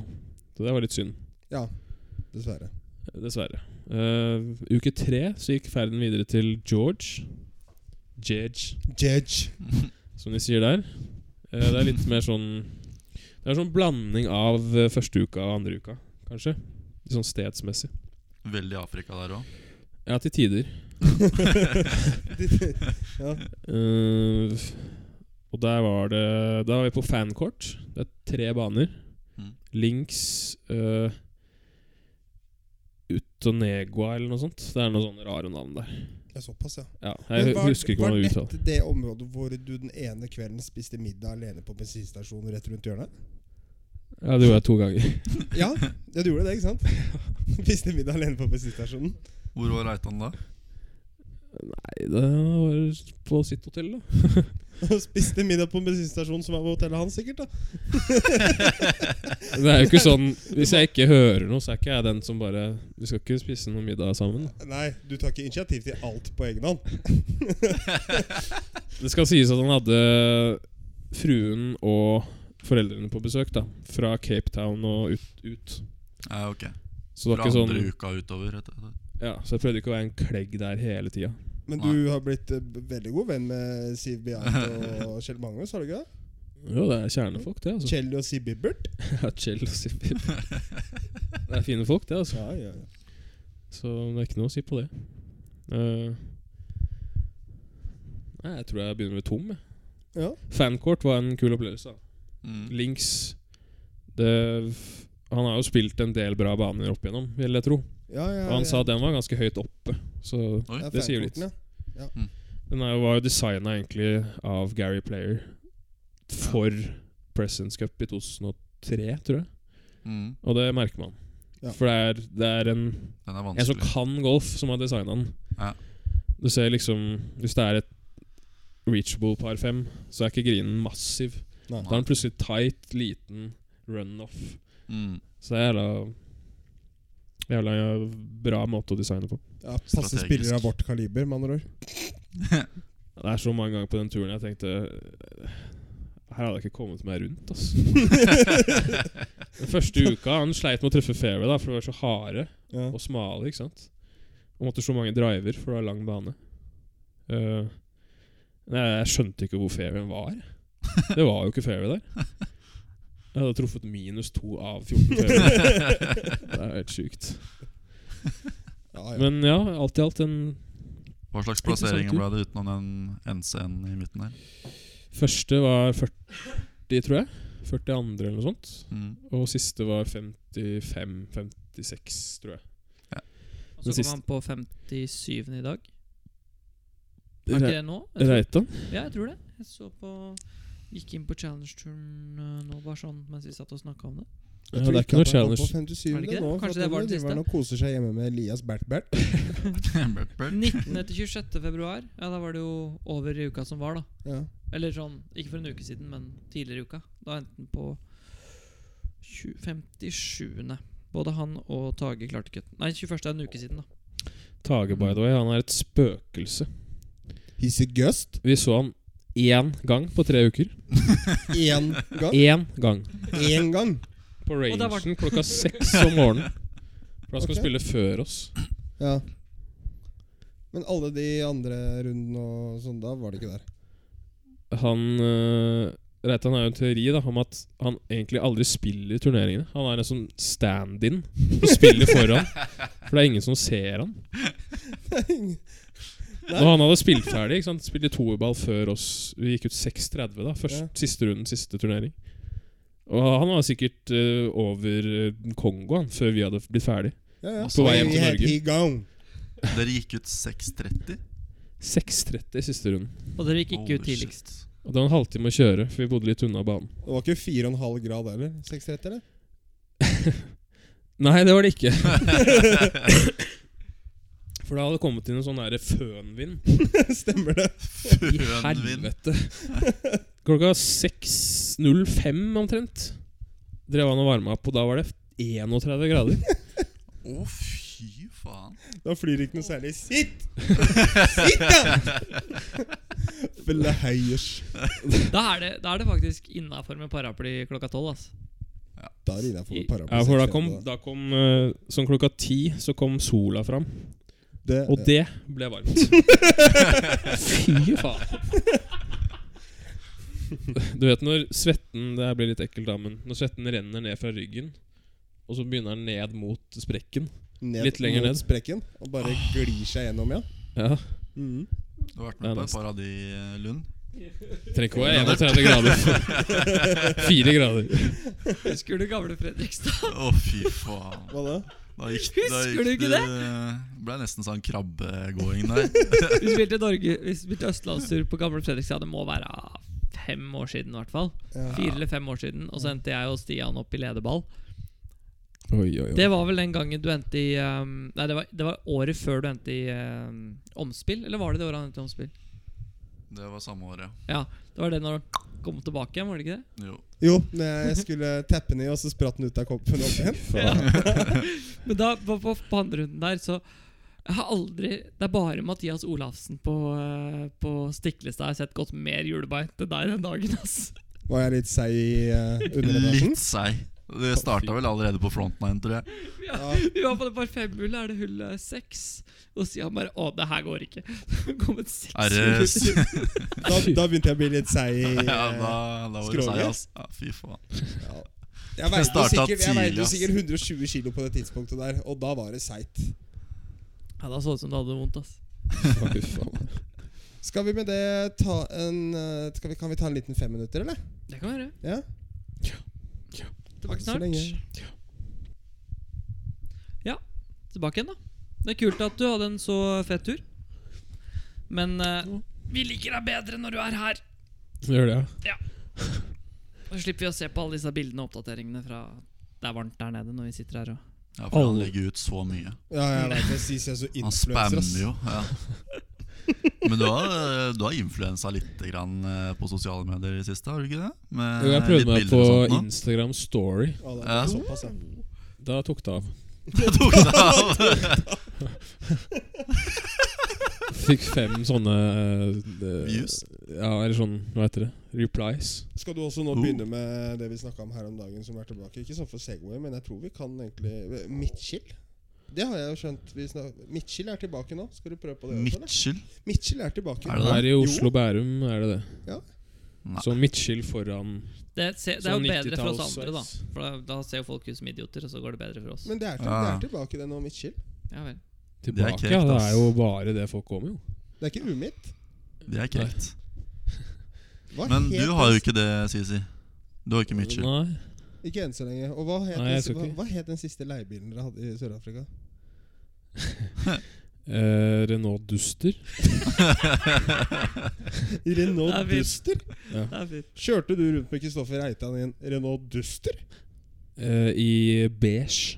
[SPEAKER 2] Så det var litt synd.
[SPEAKER 1] ja, dessverre.
[SPEAKER 2] Dessverre. Eh, uke tre så gikk ferden videre til George. Jedge,
[SPEAKER 1] Judge.
[SPEAKER 2] som de sier der. Eh, det er litt mer sånn Det er sånn blanding av eh, første uka og andre uka, kanskje. Litt sånn stedsmessig.
[SPEAKER 4] Veldig Afrika der òg.
[SPEAKER 2] Ja, til tider.
[SPEAKER 1] Ja.
[SPEAKER 2] Eh, og der var det Da var vi på fankort. Det er tre baner.
[SPEAKER 4] Mm.
[SPEAKER 2] Links eh, Utonegua eller noe sånt. Det er noen sånne rare navn der.
[SPEAKER 1] Ja, såpass, ja.
[SPEAKER 2] Ja, jeg
[SPEAKER 1] Men var,
[SPEAKER 2] husker ikke hva
[SPEAKER 1] var
[SPEAKER 2] det uttalte.
[SPEAKER 1] dette det området hvor du den ene kvelden spiste middag alene på bensinstasjonen rett rundt hjørnet?
[SPEAKER 2] Ja, det gjorde jeg to ganger.
[SPEAKER 1] Ja, ja du gjorde det, ikke sant? Spiste middag alene på bensinstasjonen.
[SPEAKER 4] Hvor var Reitan da?
[SPEAKER 2] Nei, det var på sitt hotell, da.
[SPEAKER 1] Og spiste middag på bensinstasjonen som var på hotellet hans, sikkert. da
[SPEAKER 2] Det er jo ikke sånn Hvis jeg ikke hører noe, så er ikke jeg den som bare Vi skal ikke spise noe middag sammen.
[SPEAKER 1] Nei, du tar ikke initiativ til alt på egen hånd.
[SPEAKER 2] Det skal sies at han hadde fruen og foreldrene på besøk, da. Fra Cape Town og ut. ut.
[SPEAKER 4] Ja, ok.
[SPEAKER 2] Så det
[SPEAKER 4] Fra
[SPEAKER 2] var ikke sånn
[SPEAKER 4] andre uka utover. rett og slett.
[SPEAKER 2] Ja, Så jeg prøvde ikke å være en klegg der hele tida.
[SPEAKER 1] Men du har blitt eh, b- veldig god venn med Siv Beate og Kjell Magnus, har du ikke det?
[SPEAKER 2] Jo, det er kjernefolk, det. altså
[SPEAKER 1] Kjell og Siv Bibbert?
[SPEAKER 2] Ja, Kjell og Sippi. Det er fine folk, det, altså.
[SPEAKER 1] Ja, ja, ja.
[SPEAKER 2] Så det er ikke noe å si på det. Eh, nei, jeg tror jeg begynner med tom. jeg.
[SPEAKER 1] ja.
[SPEAKER 2] Fankort var en kul opplevelse. da.
[SPEAKER 4] Mm.
[SPEAKER 2] Links det, Han har jo spilt en del bra baner opp igjennom, vil jeg tro.
[SPEAKER 1] ja, ja,
[SPEAKER 2] Og han sa den var ganske høyt oppe, så
[SPEAKER 4] Oi.
[SPEAKER 1] Ja,
[SPEAKER 2] det sier jo litt.
[SPEAKER 1] fankortene.
[SPEAKER 2] Den er jo, var jo designa egentlig av Gary Player for Presence Cup i 2003, tror jeg.
[SPEAKER 4] Mm.
[SPEAKER 2] Og det merker man.
[SPEAKER 1] Ja.
[SPEAKER 2] For det er, det er en
[SPEAKER 4] Den er
[SPEAKER 2] En som
[SPEAKER 4] vanskelig.
[SPEAKER 2] kan golf, som har designa den.
[SPEAKER 4] Ja.
[SPEAKER 2] Du ser liksom Hvis det er et reachable par fem, så er ikke grinen massiv.
[SPEAKER 1] Nei.
[SPEAKER 2] Da er den plutselig tight, liten, runoff.
[SPEAKER 4] Mm.
[SPEAKER 2] Så det er jævla Jævla bra måte å designe på.
[SPEAKER 1] Ja, passe
[SPEAKER 4] Strategisk.
[SPEAKER 1] spillere av vårt kaliber, med andre ord.
[SPEAKER 2] Det er så mange ganger på den turen jeg tenkte Her hadde jeg ikke kommet meg rundt, ass. den første uka han sleit med å treffe fairway, da, for de var så harde
[SPEAKER 1] Ja.
[SPEAKER 3] Mm.
[SPEAKER 2] og smale. ikke sant? Og måtte slå mange driver, for det var lang bane. Eh, nei, jeg skjønte ikke hvor fairwayen var. Det var jo ikke fairway der. Jeg hadde truffet minus to av 14 fairway. Det er helt sjukt.
[SPEAKER 1] Ja, ja.
[SPEAKER 2] Men ja, alt i alt en
[SPEAKER 4] Hva slags
[SPEAKER 2] Ikke sant,
[SPEAKER 4] plasseringer
[SPEAKER 2] du?
[SPEAKER 4] ble det utenom den NC-en i midten der?
[SPEAKER 2] Første var 40, tror jeg. 42 eller noe sånt.
[SPEAKER 4] Mm.
[SPEAKER 2] Og siste var 55-56, tror jeg.
[SPEAKER 3] Og
[SPEAKER 2] Den
[SPEAKER 3] så
[SPEAKER 2] siste.
[SPEAKER 3] kom han på 57. i dag. Er ikke
[SPEAKER 2] Re
[SPEAKER 3] det nå? Jeg tror-
[SPEAKER 2] Reitan?
[SPEAKER 3] Ja, jeg tror det. Jeg så på Gikk inn på Challenge-turen eh, nå, bare sånn mens vi satt og snakka om det.
[SPEAKER 1] Jeg
[SPEAKER 2] Ja, det
[SPEAKER 1] tror
[SPEAKER 2] er
[SPEAKER 1] ikke
[SPEAKER 2] ikke noe
[SPEAKER 1] at han kom
[SPEAKER 2] challenge.
[SPEAKER 1] På 57.
[SPEAKER 3] Er det ikke
[SPEAKER 1] nå,
[SPEAKER 3] det?
[SPEAKER 1] for
[SPEAKER 3] Kanskje
[SPEAKER 1] at
[SPEAKER 3] det var
[SPEAKER 1] nå
[SPEAKER 3] det
[SPEAKER 1] driver han Og koser seg hjemme med Elias Bert-Bert.
[SPEAKER 4] Bert, Bert.
[SPEAKER 3] 19. til 26. februar. Ja, da var det jo over i uka som var, da.
[SPEAKER 1] Ja.
[SPEAKER 3] Eller sånn, ikke for en uke siden, men tidligere i uka. Da endte den på 20 57. Både han og Tage klarte kutten. Nei, 21. er en uke siden, da.
[SPEAKER 2] Tage, by the way, han er et spøkelse.
[SPEAKER 1] He's a gust.
[SPEAKER 2] Vi så han én gang på tre uker.
[SPEAKER 1] Én gang.
[SPEAKER 2] Én gang.
[SPEAKER 1] Én gang!
[SPEAKER 2] På
[SPEAKER 3] Og der var
[SPEAKER 2] rangen klokka seks om morgenen. For han skal
[SPEAKER 1] Ok.
[SPEAKER 2] spille før oss.
[SPEAKER 1] Ja. Men alle de andre rundene og sånn, da var det ikke der.
[SPEAKER 2] Han øh, Reitan har jo en teori da om at han egentlig aldri spiller i turneringene. Han er en sånn stand-in og spiller foran. For det er ingen som ser han. Når han hadde spilt ferdig, ikke sant? spilte toerball før oss Vi gikk ut 6.30 da Først
[SPEAKER 1] Ja.
[SPEAKER 2] Siste runden, siste turnering Og han var sikkert eh, over eh, Kongo han, Før vi hadde blitt ferdig
[SPEAKER 1] Ja, ja.
[SPEAKER 2] På vei hjem til
[SPEAKER 1] We had
[SPEAKER 2] Norge.
[SPEAKER 1] he gone.
[SPEAKER 4] Dere gikk ut 6.30?
[SPEAKER 2] 6.30 siste runden
[SPEAKER 3] Og dere gikk
[SPEAKER 4] Holy
[SPEAKER 3] ikke ut tidligst.
[SPEAKER 4] shit.
[SPEAKER 2] Og det var en halvtime å kjøre For vi bodde litt unna banen
[SPEAKER 1] Det var ikke 4,5 grad heller? 6,30, eller?
[SPEAKER 2] Nei, det var det ikke For da hadde det kommet inn en sånn der fønvind
[SPEAKER 1] Stemmer det.
[SPEAKER 2] I
[SPEAKER 4] Fønvind.
[SPEAKER 2] helvete Klokka 6.05 omtrent Drev han og varmet opp Og da var det 31 grader
[SPEAKER 4] Å, fy faen.
[SPEAKER 1] Da flyr ikke noe særlig. Sitt! Sitt, da! Felle heiers.
[SPEAKER 3] Da er det, da er det faktisk innafor med paraply klokka tolv, altså.
[SPEAKER 1] Da er det innenfor
[SPEAKER 3] I-
[SPEAKER 1] paraply.
[SPEAKER 2] Ja, for da
[SPEAKER 1] seksjon,
[SPEAKER 2] kom, da kom eh, Sånn klokka ti så kom sola fram,
[SPEAKER 1] Det-
[SPEAKER 2] og det ble varmt. Fy faen. Du vet når svetten Det her blir litt ekkelt, da, men når svetten renner ned fra ryggen, og så begynner den ned mot sprekken
[SPEAKER 1] ned
[SPEAKER 2] litt lenger
[SPEAKER 1] mot
[SPEAKER 2] ned.
[SPEAKER 1] sprekken og bare
[SPEAKER 4] Ah.
[SPEAKER 1] glir seg gjennom, ja.
[SPEAKER 2] Ja,
[SPEAKER 4] Mm.
[SPEAKER 1] Mhm.
[SPEAKER 4] Du har vært
[SPEAKER 2] Det er
[SPEAKER 4] med på et
[SPEAKER 2] nesten.
[SPEAKER 4] par av de, eh, Lund?
[SPEAKER 2] Trenger ikke å være 31 grader. Fire grader.
[SPEAKER 3] Husker du gamle Fredrikstad?
[SPEAKER 4] Å, fy faen.
[SPEAKER 1] Hva da?
[SPEAKER 4] Da gikk, da
[SPEAKER 3] Husker
[SPEAKER 4] gikk
[SPEAKER 3] du ikke
[SPEAKER 4] det ble nesten sånn krabbegåing der.
[SPEAKER 3] Vi spilte Norge Vi spilte østlandstur på gamle Fredrikstad. Det må være fem år siden, i hvert fall.
[SPEAKER 1] Ja.
[SPEAKER 3] Fire eller fem år siden. Og så endte jeg og Stian opp i lederball.
[SPEAKER 2] Oi, oi, oi.
[SPEAKER 3] Det var vel den gangen du endte i ehm, Nei, det var, det var året før du endte i ehm, omspill. Eller var det det året han endte i omspill?
[SPEAKER 4] Det var samme året.
[SPEAKER 3] Ja, det var det når han kom tilbake igjen, var det ikke det?
[SPEAKER 4] Jo.
[SPEAKER 1] Jo, når jeg skulle teppe ned, og så spratt den ut av koppen opp igjen.
[SPEAKER 3] Men da, på, på, på andre runden der, så jeg har aldri Det er bare Mathias Olafsen på, eh, på Stiklestad jeg har sett gått mer julebein til deg den dagen, ass.
[SPEAKER 1] Var jeg litt seig i uh, underetasjen?
[SPEAKER 4] Litt seig. Det starta vel allerede på frontline, tror jeg.
[SPEAKER 1] Ja.
[SPEAKER 3] Vi var på det par femhullet, er det hull eh, seks? Og Stian bare Å, det her går ikke. Det kom et seks
[SPEAKER 4] Er
[SPEAKER 3] hull ut i-
[SPEAKER 4] det
[SPEAKER 1] Da, da begynte jeg å bli litt seig. i, eh,
[SPEAKER 4] Ja, da, da var det seig,
[SPEAKER 1] Skrålig.
[SPEAKER 4] ass. Ja, fy faen.
[SPEAKER 1] ja. Jeg veide jo
[SPEAKER 4] startet
[SPEAKER 1] sikkert, jeg veide
[SPEAKER 4] tidlig,
[SPEAKER 1] jo
[SPEAKER 4] ass.
[SPEAKER 1] sikkert 120 kilo på det tidspunktet der, og da var det seigt.
[SPEAKER 3] Ja, da så det ut som du hadde det vondt, ass.
[SPEAKER 2] Fy faen.
[SPEAKER 1] Skal vi med det ta en eh, skal vi, Kan vi ta en liten fem minutter, eller?
[SPEAKER 3] Det kan være.
[SPEAKER 1] Ja?
[SPEAKER 3] Tilbake
[SPEAKER 1] Så
[SPEAKER 3] snart.
[SPEAKER 1] lenge.
[SPEAKER 3] Ja, tilbake igjen, da. Det er kult at du hadde en så fet tur. Men eh, vi liker deg bedre når du er her.
[SPEAKER 2] Gjør det, ja.
[SPEAKER 3] Så slipper vi å se på alle disse bildene og oppdateringene fra det er varmt der nede når vi sitter her og
[SPEAKER 4] Ja, for han legger ut så mye.
[SPEAKER 1] Ja, jeg vet det. Sies jeg er så
[SPEAKER 4] Han
[SPEAKER 1] influenser,
[SPEAKER 4] spammer
[SPEAKER 1] ass.
[SPEAKER 4] jo. Ja. Men du har, eh, du har influensa litt grann eh, på sosiale medier i det siste, har du ikke det? Med
[SPEAKER 2] Jo, jeg
[SPEAKER 4] litt
[SPEAKER 2] prøvde meg
[SPEAKER 4] bilder
[SPEAKER 2] på
[SPEAKER 4] og sånt nå.
[SPEAKER 2] Instagram Story.
[SPEAKER 1] Ja, det er
[SPEAKER 4] Ja.
[SPEAKER 1] såpass, ja.
[SPEAKER 2] Da tok det av.
[SPEAKER 4] Det tok det av.
[SPEAKER 2] Fikk fem sånne eh,
[SPEAKER 4] Views?
[SPEAKER 2] Ja, eller sånn, hva heter det? Replies.
[SPEAKER 1] Skal du også nå
[SPEAKER 4] Oh.
[SPEAKER 1] begynne med det vi snakka om her om dagen, som er tilbake? Ikke sånn for Segway, men jeg tror vi kan egentlig Midtskill? Det har jeg jo skjønt. vi snak- Midtskill er tilbake nå. Skal du prøve på det? også, eller?
[SPEAKER 4] Mitchell?
[SPEAKER 1] Midtskill er tilbake.
[SPEAKER 4] Er det det?
[SPEAKER 2] Her i Oslo Bærum er det det.
[SPEAKER 1] Ja.
[SPEAKER 4] Nei.
[SPEAKER 2] Så midtskill foran
[SPEAKER 3] det, se, det er
[SPEAKER 2] Sånn
[SPEAKER 3] jo bedre for oss
[SPEAKER 2] 90-talls
[SPEAKER 3] andre, da.
[SPEAKER 2] sveis.
[SPEAKER 3] For da, da ser jo folk ut som idioter, og så går det bedre for oss.
[SPEAKER 1] Men det er, til, det
[SPEAKER 4] Ja.
[SPEAKER 1] er tilbake, det nå, Midtskill.
[SPEAKER 3] Ja vel.
[SPEAKER 4] Det er
[SPEAKER 2] tilbake.
[SPEAKER 4] korrekt,
[SPEAKER 2] ja, det
[SPEAKER 4] ass.
[SPEAKER 2] er jo bare det folk kommer, jo.
[SPEAKER 1] Det er ikke umitt.
[SPEAKER 4] Det er korrekt.
[SPEAKER 1] Hva
[SPEAKER 4] Men
[SPEAKER 1] het
[SPEAKER 4] du har
[SPEAKER 1] den-
[SPEAKER 4] jo ikke det, Sisi. Du har ikke Mitchell.
[SPEAKER 2] Nei.
[SPEAKER 1] Ikke enn så lenge. Og hva het,
[SPEAKER 2] Nei,
[SPEAKER 1] den,
[SPEAKER 2] jeg skal
[SPEAKER 1] hva,
[SPEAKER 2] ikke.
[SPEAKER 1] hva het den siste leiebilen dere hadde i Sør-Afrika?
[SPEAKER 2] Eh, Renault Duster.
[SPEAKER 1] Renault
[SPEAKER 3] Jeg vet.
[SPEAKER 1] Duster?
[SPEAKER 3] Det er fint.
[SPEAKER 1] Kjørte du rundt med Kristoffer Reitan i en Renault Duster?
[SPEAKER 2] Eh, I beige.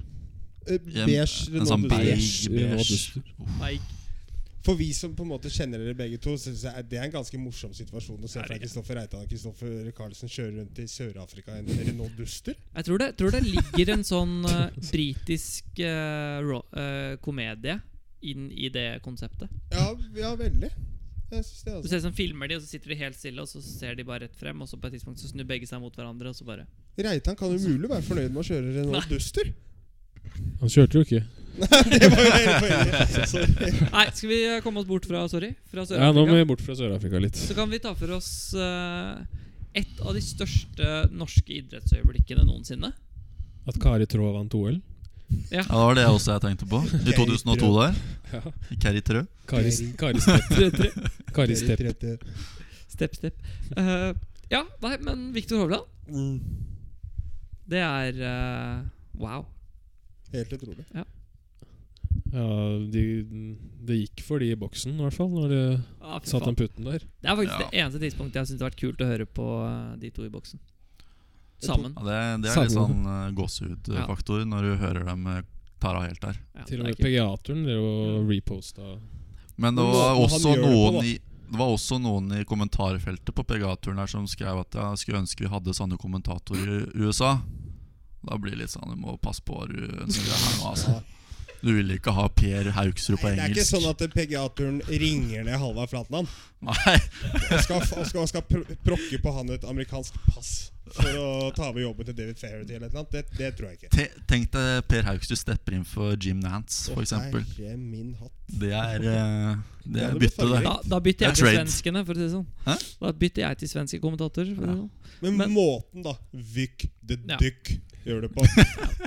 [SPEAKER 1] Eh,
[SPEAKER 4] Ja,
[SPEAKER 1] Beige
[SPEAKER 4] en
[SPEAKER 1] Renault
[SPEAKER 4] sånn
[SPEAKER 1] Duster.
[SPEAKER 4] Beige,
[SPEAKER 2] Renault
[SPEAKER 4] beige.
[SPEAKER 2] Duster.
[SPEAKER 3] Nei,
[SPEAKER 1] For vi som på en måte kjenner dere begge to, synes jeg det er en ganske morsom situasjon å se fra Kristoffer Reitan og Kristoffer Carlsen kjøre rundt i Sør-Afrika i en Renault Duster.
[SPEAKER 3] Jeg tror det, tror det ligger en sånn eh, britisk eh, ro- eh, komedie inn i det konseptet.
[SPEAKER 1] Ja, ja veldig. Jeg synes det
[SPEAKER 3] Du
[SPEAKER 1] altså.
[SPEAKER 3] ser sånn, filmer de, og så sitter de helt stille, og så ser de bare rett frem, og så på et tidspunkt så snur begge seg mot hverandre, og så bare
[SPEAKER 1] Reitan kan umulig være fornøyd med å kjøre Renault Duster.
[SPEAKER 2] Han kjørte jo ikke.
[SPEAKER 1] Det var jo hele poenget. Sorry.
[SPEAKER 3] Nei, skal vi eh, komme oss bort fra Sorry? Fra
[SPEAKER 2] Ja, Nå må
[SPEAKER 3] Sør-Afrika?
[SPEAKER 2] vi bort fra Sør-Afrika litt.
[SPEAKER 3] Så kan vi ta for oss eh, et av de største norske idrettsøyeblikkene noensinne.
[SPEAKER 2] At Kari Traa vant OL.
[SPEAKER 4] Ja, det var det også jeg tenkte på. I 2002 der. Keri Trø.
[SPEAKER 2] Kari, Kari, Step, Kari Step.
[SPEAKER 3] Step, step. Eh, ja, nei, men Viktor Hovland,
[SPEAKER 1] Mm.
[SPEAKER 3] det er eh, Wow.
[SPEAKER 1] Helt utrolig.
[SPEAKER 2] Ja, de, det gikk for de i boksen, i hvert fall, når de
[SPEAKER 3] Ah, fy
[SPEAKER 2] satt
[SPEAKER 3] faen.
[SPEAKER 2] den putten der.
[SPEAKER 3] Det er faktisk
[SPEAKER 4] Ja.
[SPEAKER 3] det eneste tidspunktet jeg har syntes det har vært kult å høre på eh, de to i boksen. Sammen.
[SPEAKER 4] Ja, det, det er litt
[SPEAKER 2] Samme.
[SPEAKER 4] sånn uh, gåsehudfaktor når du hører dem eh, tar av helt der.
[SPEAKER 3] Ja,
[SPEAKER 2] Til og
[SPEAKER 3] det
[SPEAKER 2] med
[SPEAKER 3] er kult.
[SPEAKER 2] PGA-turen drev og reposta.
[SPEAKER 4] Men det
[SPEAKER 1] Men måten han
[SPEAKER 4] var også
[SPEAKER 1] gjør det på,
[SPEAKER 4] noen
[SPEAKER 1] da.
[SPEAKER 4] i det var også noen i kommentarfeltet på PGA-turen her som skrev at jeg skulle ønske vi hadde sånne kommentatorer i USA. Da blir det litt sånn Du må passe på hva du ønsker deg her nå, altså.
[SPEAKER 1] Ja.
[SPEAKER 4] Du ville ikke ha Per Hauksrud på
[SPEAKER 1] Nei, det er ikke
[SPEAKER 4] engelsk?
[SPEAKER 1] sånn at PGA-turen ringer ned Halvard Flatland
[SPEAKER 4] Nei,
[SPEAKER 1] og skal, og skal, og skal pr prokke på han et amerikansk pass for å ta over jobben til David Fairty eller noe. Det, det tror jeg ikke.
[SPEAKER 4] te- Tenk deg Per Hauksrud stepper inn for Jim Nance,
[SPEAKER 1] Å,
[SPEAKER 4] f.eks.
[SPEAKER 1] Herre min hatt.
[SPEAKER 4] Det er, eh, det
[SPEAKER 1] Ja, det
[SPEAKER 4] er
[SPEAKER 1] blir
[SPEAKER 4] bytte, det.
[SPEAKER 3] Da, da bytter jeg
[SPEAKER 4] Det er
[SPEAKER 3] til
[SPEAKER 4] trade.
[SPEAKER 3] svenskene, for å si det sånn.
[SPEAKER 4] Hæ?
[SPEAKER 3] Da bytter jeg til svenske kommentatorer. For å si det sånn.
[SPEAKER 1] Men,
[SPEAKER 3] Men-
[SPEAKER 1] måten, da. Vyk the
[SPEAKER 3] Ja.
[SPEAKER 1] duck gjør det på.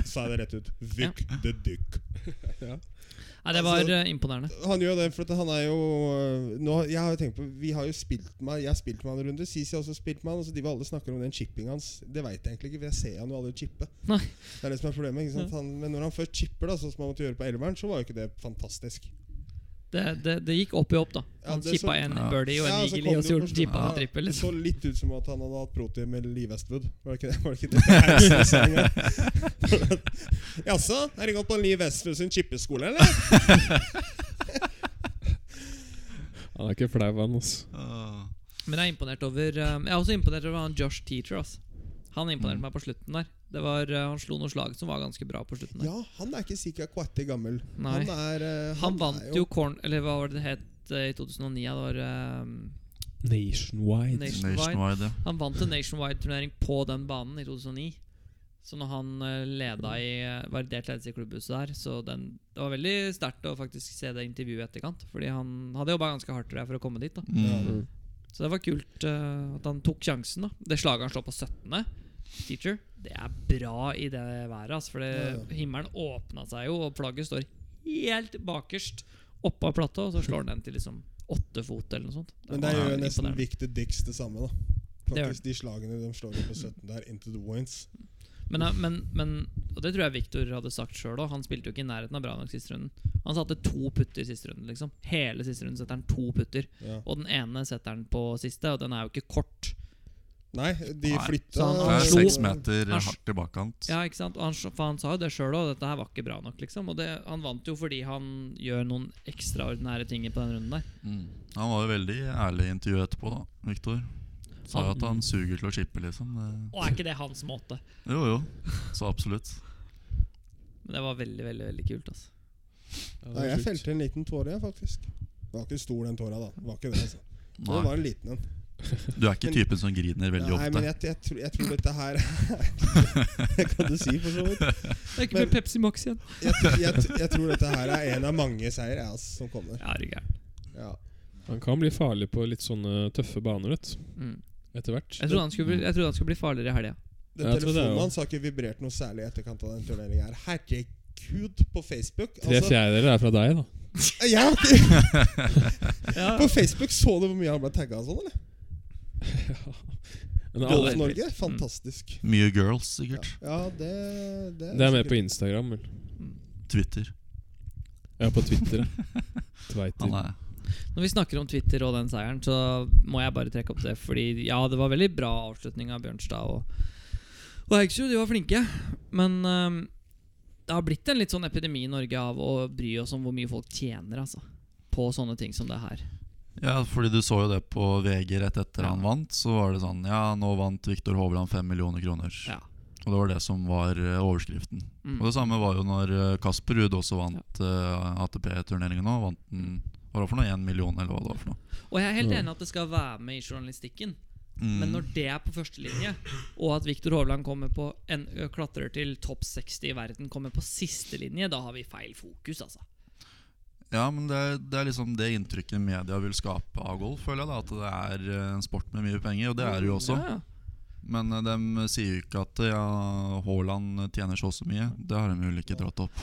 [SPEAKER 1] Sa jeg det rett ut. Vyk the duck.
[SPEAKER 3] Nei, det var
[SPEAKER 1] Altså-
[SPEAKER 3] eh, imponerende.
[SPEAKER 1] Han gjør det, for at han er jo øh, nå, Jeg har jo tenkt på Vi har jo spilt med Jeg har spilt med han en runde. Sisi har også spilt med han. Altså, de var alle snakker om den chipping hans. Det veit jeg egentlig ikke, for jeg ser han jo aldri chippe.
[SPEAKER 3] Nei.
[SPEAKER 1] Det er det som er problemet. Ikke sant? Han, men når han først chipper, da sånn som han måtte gjøre på Elveren, så var jo ikke det fantastisk.
[SPEAKER 3] Det, det, det gikk opp i opp, da.
[SPEAKER 1] Ja,
[SPEAKER 3] Han
[SPEAKER 1] det
[SPEAKER 3] chippa
[SPEAKER 1] så-
[SPEAKER 3] en
[SPEAKER 4] Ja.
[SPEAKER 3] birdie og en
[SPEAKER 1] Ja, så
[SPEAKER 3] eagle,
[SPEAKER 1] kom
[SPEAKER 3] og
[SPEAKER 1] det
[SPEAKER 3] så
[SPEAKER 1] jo
[SPEAKER 3] gjorde
[SPEAKER 1] først-
[SPEAKER 3] chippa
[SPEAKER 1] Ja,
[SPEAKER 3] en
[SPEAKER 1] Det
[SPEAKER 3] trippel. liksom.
[SPEAKER 1] så litt ut som at han hadde hatt protein med Lee Westwood. Var det ikke det? Var det ikke det? Jaså? Er det gått på Lee Westwood sin chippeskole, eller?
[SPEAKER 2] Han er ikke flau, han. Altså.
[SPEAKER 4] Åh.
[SPEAKER 3] Men jeg er imponert over eh, Jeg er også imponert over han Josh Teacher. ass. Han imponerte
[SPEAKER 4] Mm.
[SPEAKER 3] meg på slutten der. Det var, eh, han slo noen slag som var ganske bra på slutten. der
[SPEAKER 1] Ja, han er ikke sikkert kvatti gammel.
[SPEAKER 3] Nei.
[SPEAKER 1] Han er eh,
[SPEAKER 3] Han vant
[SPEAKER 1] er
[SPEAKER 3] jo corn... Eller hva var det det het eh, i 2009? Ja, Det var eh,
[SPEAKER 2] Nationwide.
[SPEAKER 3] Nationwide.
[SPEAKER 4] Nationwide.
[SPEAKER 3] Han vant en nationwide-turnering på den banen i 2009. Så når han eh, leda i eh, var delt ledelse i klubbhuset der, så den, det var veldig sterkt å faktisk se det intervjuet i etterkant. Fordi han hadde jobba ganske hardt tror jeg, for å komme dit. da
[SPEAKER 4] ja. Mm.
[SPEAKER 3] Så det var kult eh, at han tok sjansen. da Det slaget han slår på 17. Teacher, det er bra i det været. ass, for det, himmelen åpna seg jo, og flagget står helt bakerst oppå plata, og så slår han den til liksom åtte fot eller noe sånt.
[SPEAKER 1] Men det gjør
[SPEAKER 3] var
[SPEAKER 1] jo nesten
[SPEAKER 3] imponerende.
[SPEAKER 1] Victor Dix det samme, da.
[SPEAKER 3] Det gjør
[SPEAKER 1] Faktisk De slagene de slår på 17 der, into the points.
[SPEAKER 3] Men, eh, men, men og det tror jeg Victor hadde sagt sjøl òg. Han spilte jo ikke i nærheten av bra nok siste runden. Han satte to putter siste runden. liksom Hele siste runden setter han to putter.
[SPEAKER 1] Ja.
[SPEAKER 3] Og den ene setter han på siste, og den er jo ikke kort.
[SPEAKER 1] Nei, de
[SPEAKER 4] Nei.
[SPEAKER 1] flytta
[SPEAKER 3] Så han-
[SPEAKER 4] Det
[SPEAKER 3] han
[SPEAKER 4] er
[SPEAKER 3] slo-
[SPEAKER 4] seks meter
[SPEAKER 3] han-
[SPEAKER 4] hardt i bakkant.
[SPEAKER 3] Ja, ikke sant? Og han, s- for han sa jo det sjøl òg, dette her var ikke bra nok. liksom Og det, han vant jo fordi han gjør noen ekstraordinære ting på den runden der.
[SPEAKER 4] Mm. Han var jo veldig ærlig i intervjuet etterpå, da, Victor. Sa jo at han suger til å chippe, liksom. Det-
[SPEAKER 3] Og er ikke det hans måte?
[SPEAKER 4] Jo, jo. Så absolutt.
[SPEAKER 3] Men det var veldig, veldig veldig kult. altså
[SPEAKER 2] Ja, det
[SPEAKER 1] Nei,
[SPEAKER 2] er
[SPEAKER 1] jeg
[SPEAKER 2] sjukt.
[SPEAKER 1] felte en liten tåre, jeg, faktisk. Det var ikke stor, den tåra, da. Det var ikke det, altså. Men
[SPEAKER 4] Nei.
[SPEAKER 1] det var en liten en.
[SPEAKER 4] Du er ikke typen som griner veldig
[SPEAKER 1] Nei, men
[SPEAKER 4] ofte.
[SPEAKER 1] jeg, jeg, tror, jeg tror dette her Det kan du si, for så vidt.
[SPEAKER 3] Det er ikke
[SPEAKER 1] Men-
[SPEAKER 3] mer Pepsi Max igjen.
[SPEAKER 1] Jeg, tr- jeg, tr- jeg tror dette her er en av mange seier jeg, altså, som kommer.
[SPEAKER 3] Ja, er du gæren.
[SPEAKER 1] Ja.
[SPEAKER 2] Han kan bli farlig på litt sånne tøffe baner vet du,
[SPEAKER 3] Mm.
[SPEAKER 2] etter hvert.
[SPEAKER 3] Jeg trodde han skulle bli, jeg trodde han skulle bli farligere i helga.
[SPEAKER 1] Den
[SPEAKER 2] Jeg tror det er
[SPEAKER 1] telefonen
[SPEAKER 2] jo-
[SPEAKER 1] hans har ikke vibrert noe særlig i etterkant av den turneringa her. Herregud, på Facebook
[SPEAKER 2] Tre
[SPEAKER 1] altså,
[SPEAKER 2] fjerdedeler er fra deg, da.
[SPEAKER 1] ja,
[SPEAKER 3] Ja.
[SPEAKER 1] På Facebook så du hvor mye han ble tagga og sånn, eller?
[SPEAKER 2] Men
[SPEAKER 3] Golf
[SPEAKER 2] alle,
[SPEAKER 1] Golf Norge, fantastisk.
[SPEAKER 4] Mye girls,
[SPEAKER 1] Ja,
[SPEAKER 4] sikkert.
[SPEAKER 1] ja det, det,
[SPEAKER 2] det er mer på Instagram, vel.
[SPEAKER 3] Mm.
[SPEAKER 4] Twitter.
[SPEAKER 2] Ja, på Twitter. ja. Tveiter.
[SPEAKER 4] Han er
[SPEAKER 3] Når vi snakker om Twitter og den seieren, så må jeg bare trekke opp det. Fordi ja, det var veldig bra avslutning av Bjørnstad og, og Haugesund. De var flinke. Men øhm, det har blitt en litt sånn epidemi i Norge av å bry oss om hvor mye folk tjener altså, på sånne ting som det her.
[SPEAKER 4] Ja, fordi du så jo det på VG rett etter han vant. Så var det sånn Ja, nå vant Viktor Hovland 5 millioner kroner.
[SPEAKER 3] Ja.
[SPEAKER 4] Og det var det som var eh, overskriften.
[SPEAKER 3] Mm.
[SPEAKER 4] Og det samme var jo når eh, Kasper Ruud også vant eh, ATP-turneringen nå. Vant den Hva var det for noe? 1 million, eller hva det var for noe?
[SPEAKER 3] Og jeg er helt
[SPEAKER 2] Ja.
[SPEAKER 3] enig at det skal være med i journalistikken.
[SPEAKER 4] Mm.
[SPEAKER 3] Men når det er på førstelinje, og at Viktor Hovland kommer på en, ø, klatrer til topp 60 i verden, kommer på sistelinje, da har vi feil fokus, altså.
[SPEAKER 4] Ja, men det er, det er liksom det inntrykket media vil skape av golf, føler jeg. da At det er eh, en sport med mye penger, og det er det jo også.
[SPEAKER 3] Ja, ja.
[SPEAKER 4] Men eh, de sier jo ikke at eh, ja, Haaland tjener så og så mye. Det har de vel ikke dratt opp.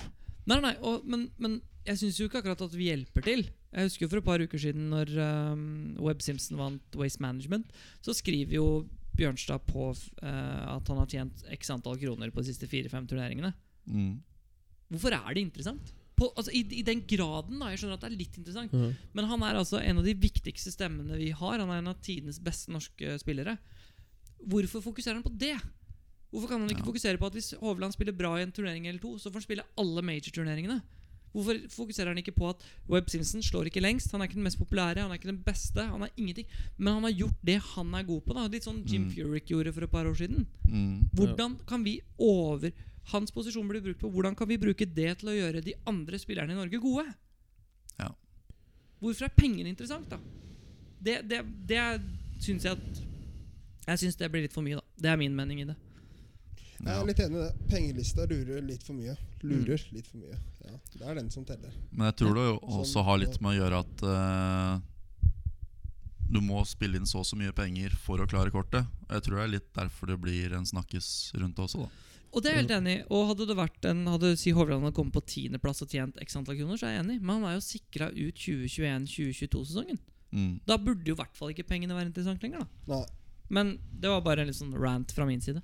[SPEAKER 3] Nei, nei, og, men, men jeg syns jo ikke akkurat at vi hjelper til. Jeg husker jo for et par uker siden, når ehm, Webb Simpson vant Waste Management, så skriver jo Bjørnstad på f- eh, at han har tjent x antall kroner på de siste fire-fem turneringene.
[SPEAKER 4] Mm.
[SPEAKER 3] Hvorfor er det interessant? På, altså, i, I den graden, da. Jeg skjønner at det er litt interessant.
[SPEAKER 4] Mhm.
[SPEAKER 2] Ja.
[SPEAKER 3] Men han er altså en av de viktigste stemmene vi har. Han er en av tidenes beste norske spillere. Hvorfor fokuserer han på det? Hvorfor kan han ikke
[SPEAKER 4] Ja.
[SPEAKER 3] fokusere på at hvis Hovland spiller bra i en turnering eller to, så får han spille alle major-turneringene? Hvorfor fokuserer han ikke på at Webb Simpson slår ikke lengst? Han er ikke den mest populære, han er ikke den beste, han er ingenting. Men han har gjort det han er god på. da Litt sånn Jim
[SPEAKER 4] Mm.
[SPEAKER 3] Furyk gjorde for et par år siden.
[SPEAKER 4] Mm.
[SPEAKER 3] Hvordan kan vi over Hans posisjon blir brukt på hvordan kan vi bruke det til å gjøre de andre spillerne i Norge gode?
[SPEAKER 4] Ja.
[SPEAKER 3] Hvorfor er penger interessant, da? Det, det, det syns jeg at Jeg syns det blir litt for mye, da. Det er min mening i det.
[SPEAKER 4] Ja.
[SPEAKER 5] Jeg er litt enig i det. Pengelista lurer litt for mye. Lurer
[SPEAKER 2] Mm.
[SPEAKER 5] litt for mye. Ja, det er den som teller.
[SPEAKER 4] Men jeg tror det jo også har litt med å gjøre at eh, du må spille inn så og så mye penger for å klare kortet. Og Jeg tror det er litt derfor det blir en snakkes rundt det også, da.
[SPEAKER 3] Og det er jeg helt enig i. Og hadde det vært en Hadde si Hovland hadde kommet på tiendeplass og tjent x antall kroner, så er jeg enig. Men han er jo sikra ut 2021-2022-sesongen.
[SPEAKER 4] Mm.
[SPEAKER 3] Da burde jo i hvert fall ikke pengene være interessant lenger, da.
[SPEAKER 5] Nei,
[SPEAKER 3] Men det var bare en litt sånn rant fra min side.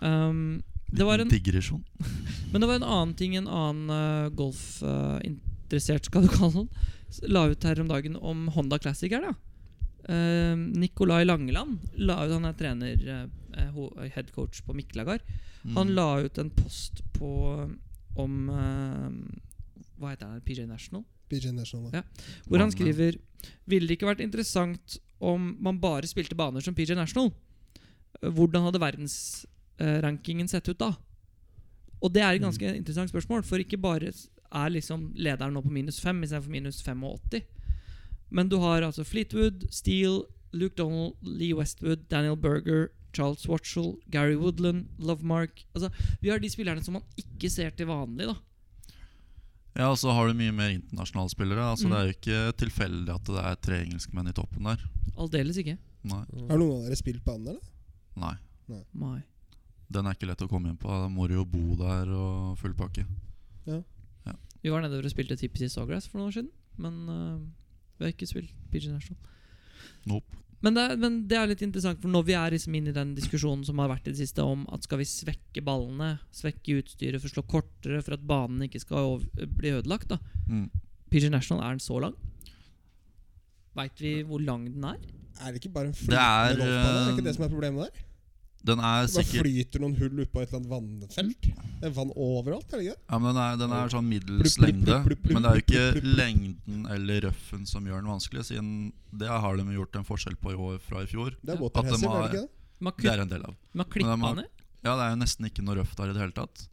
[SPEAKER 3] Um, det var en,
[SPEAKER 4] Digresjon.
[SPEAKER 3] men det var en annen ting en annen eh, golfinteressert, skal du kalle han, s- la ut her om dagen om Honda Classic her, da. Um, Nikolai Langeland la ut, han er trener, eh, ho- head coach på Miklagard.
[SPEAKER 4] Mm.
[SPEAKER 3] Han la ut en post på om eh, Hva heter den? PJ National?
[SPEAKER 5] PG National.
[SPEAKER 3] Ja. Hvor han
[SPEAKER 4] Bane.
[SPEAKER 3] skriver Ville det ikke vært interessant om man bare spilte baner som PJ National? Hvordan hadde verdensrankingen sett ut da? Og det er et ganske interessant spørsmål, for ikke bare er liksom lederen nå på minus 5 istedenfor minus 85. Men du har altså Fleetwood, Steele, Luke Donald, Lee Westwood, Daniel Berger, Charles Watchell, Gary Woodland, Lovemark altså, Vi har de spillerne som man ikke ser til vanlig. da
[SPEAKER 4] Ja, og så har du mye mer internasjonale spillere. Altså
[SPEAKER 3] Mm.
[SPEAKER 4] Det er jo ikke tilfeldig at det er tre engelskmenn i toppen der.
[SPEAKER 3] Aldeles ikke.
[SPEAKER 4] Nei.
[SPEAKER 5] Har noen av dere spilt på annen, eller?
[SPEAKER 4] Nei.
[SPEAKER 3] Mai.
[SPEAKER 4] Den er ikke lett å komme inn på. Da må du jo bo der og full pakke.
[SPEAKER 3] Vi var nedover og spilte Tippis i Sawgrass for noen år siden. Men øh, vi har ikke spilt PG National.
[SPEAKER 4] Nope.
[SPEAKER 3] Men det, er, men det er litt interessant, for når vi er liksom inne i den diskusjonen som har vært i det siste om at skal vi svekke ballene, svekke utstyret for å slå kortere for at banen ikke skal over, bli ødelagt, da.
[SPEAKER 4] Mm.
[SPEAKER 3] PG National, er den så lang? Veit vi hvor lang den er?
[SPEAKER 5] Er det ikke bare en
[SPEAKER 4] Det er,
[SPEAKER 5] flytende golfbane? Er det ikke det
[SPEAKER 4] eh,
[SPEAKER 5] som er problemet der?
[SPEAKER 4] Den er
[SPEAKER 5] Det bare
[SPEAKER 4] sikkert
[SPEAKER 5] flyter noen hull oppå et eller annet vannfelt. Det er vann overalt, er det ikke det?
[SPEAKER 4] Ja, men den er, den er sånn middels
[SPEAKER 5] Plupp, plupp,
[SPEAKER 4] lengde,
[SPEAKER 5] plupp, plupp, plupp,
[SPEAKER 4] men det er jo
[SPEAKER 5] plupp, plupp,
[SPEAKER 4] ikke
[SPEAKER 5] plupp.
[SPEAKER 4] lengden eller røffen som gjør den vanskelig, siden det har de gjort en forskjell på i år fra i fjor.
[SPEAKER 5] Det
[SPEAKER 3] Ja.
[SPEAKER 5] er waterhessing,
[SPEAKER 4] At de
[SPEAKER 5] er
[SPEAKER 4] har-
[SPEAKER 5] det ikke det?
[SPEAKER 3] Man
[SPEAKER 4] Det
[SPEAKER 3] har
[SPEAKER 4] er en del av.
[SPEAKER 3] klippa
[SPEAKER 4] Men det er-
[SPEAKER 3] ned.
[SPEAKER 4] Ja, det er jo nesten ikke noe røft der i det hele tatt.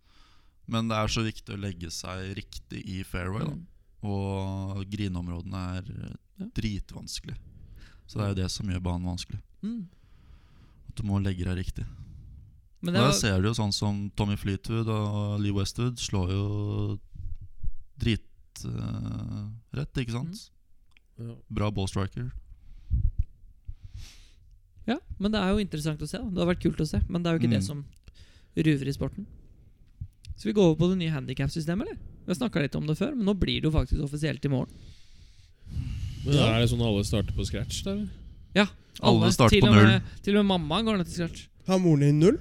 [SPEAKER 4] Men det er så viktig å legge seg riktig i fairway, da.
[SPEAKER 3] Mm.
[SPEAKER 4] Og grineområdene er
[SPEAKER 3] Ja.
[SPEAKER 4] dritvanskelig. Så det er jo det som gjør banen vanskelig.
[SPEAKER 3] Mm.
[SPEAKER 4] At du må legge deg riktig.
[SPEAKER 3] Men
[SPEAKER 4] Og
[SPEAKER 3] det var,
[SPEAKER 4] der ser du jo sånn som Tommy Fleetwood og Lee Westwood slår jo dritrett, rett, ikke sant?
[SPEAKER 3] Mm.
[SPEAKER 2] Ja.
[SPEAKER 4] Bra ballstriker.
[SPEAKER 3] ja, men det er jo interessant å se. Da. Det har vært kult å se, men det er jo ikke
[SPEAKER 4] Mm.
[SPEAKER 3] det som ruver i sporten. Skal vi gå over på det nye handikapsystemet, eller? Vi har snakka litt om det før, men nå blir det jo faktisk offisielt i morgen.
[SPEAKER 2] Men Er det sånn alle starter på scratch? der? eller?
[SPEAKER 3] Ja,
[SPEAKER 4] Alle starter
[SPEAKER 3] til
[SPEAKER 4] på
[SPEAKER 3] og med-
[SPEAKER 4] null.
[SPEAKER 3] Til og med mamma går ned til scratch.
[SPEAKER 5] Har moren din null?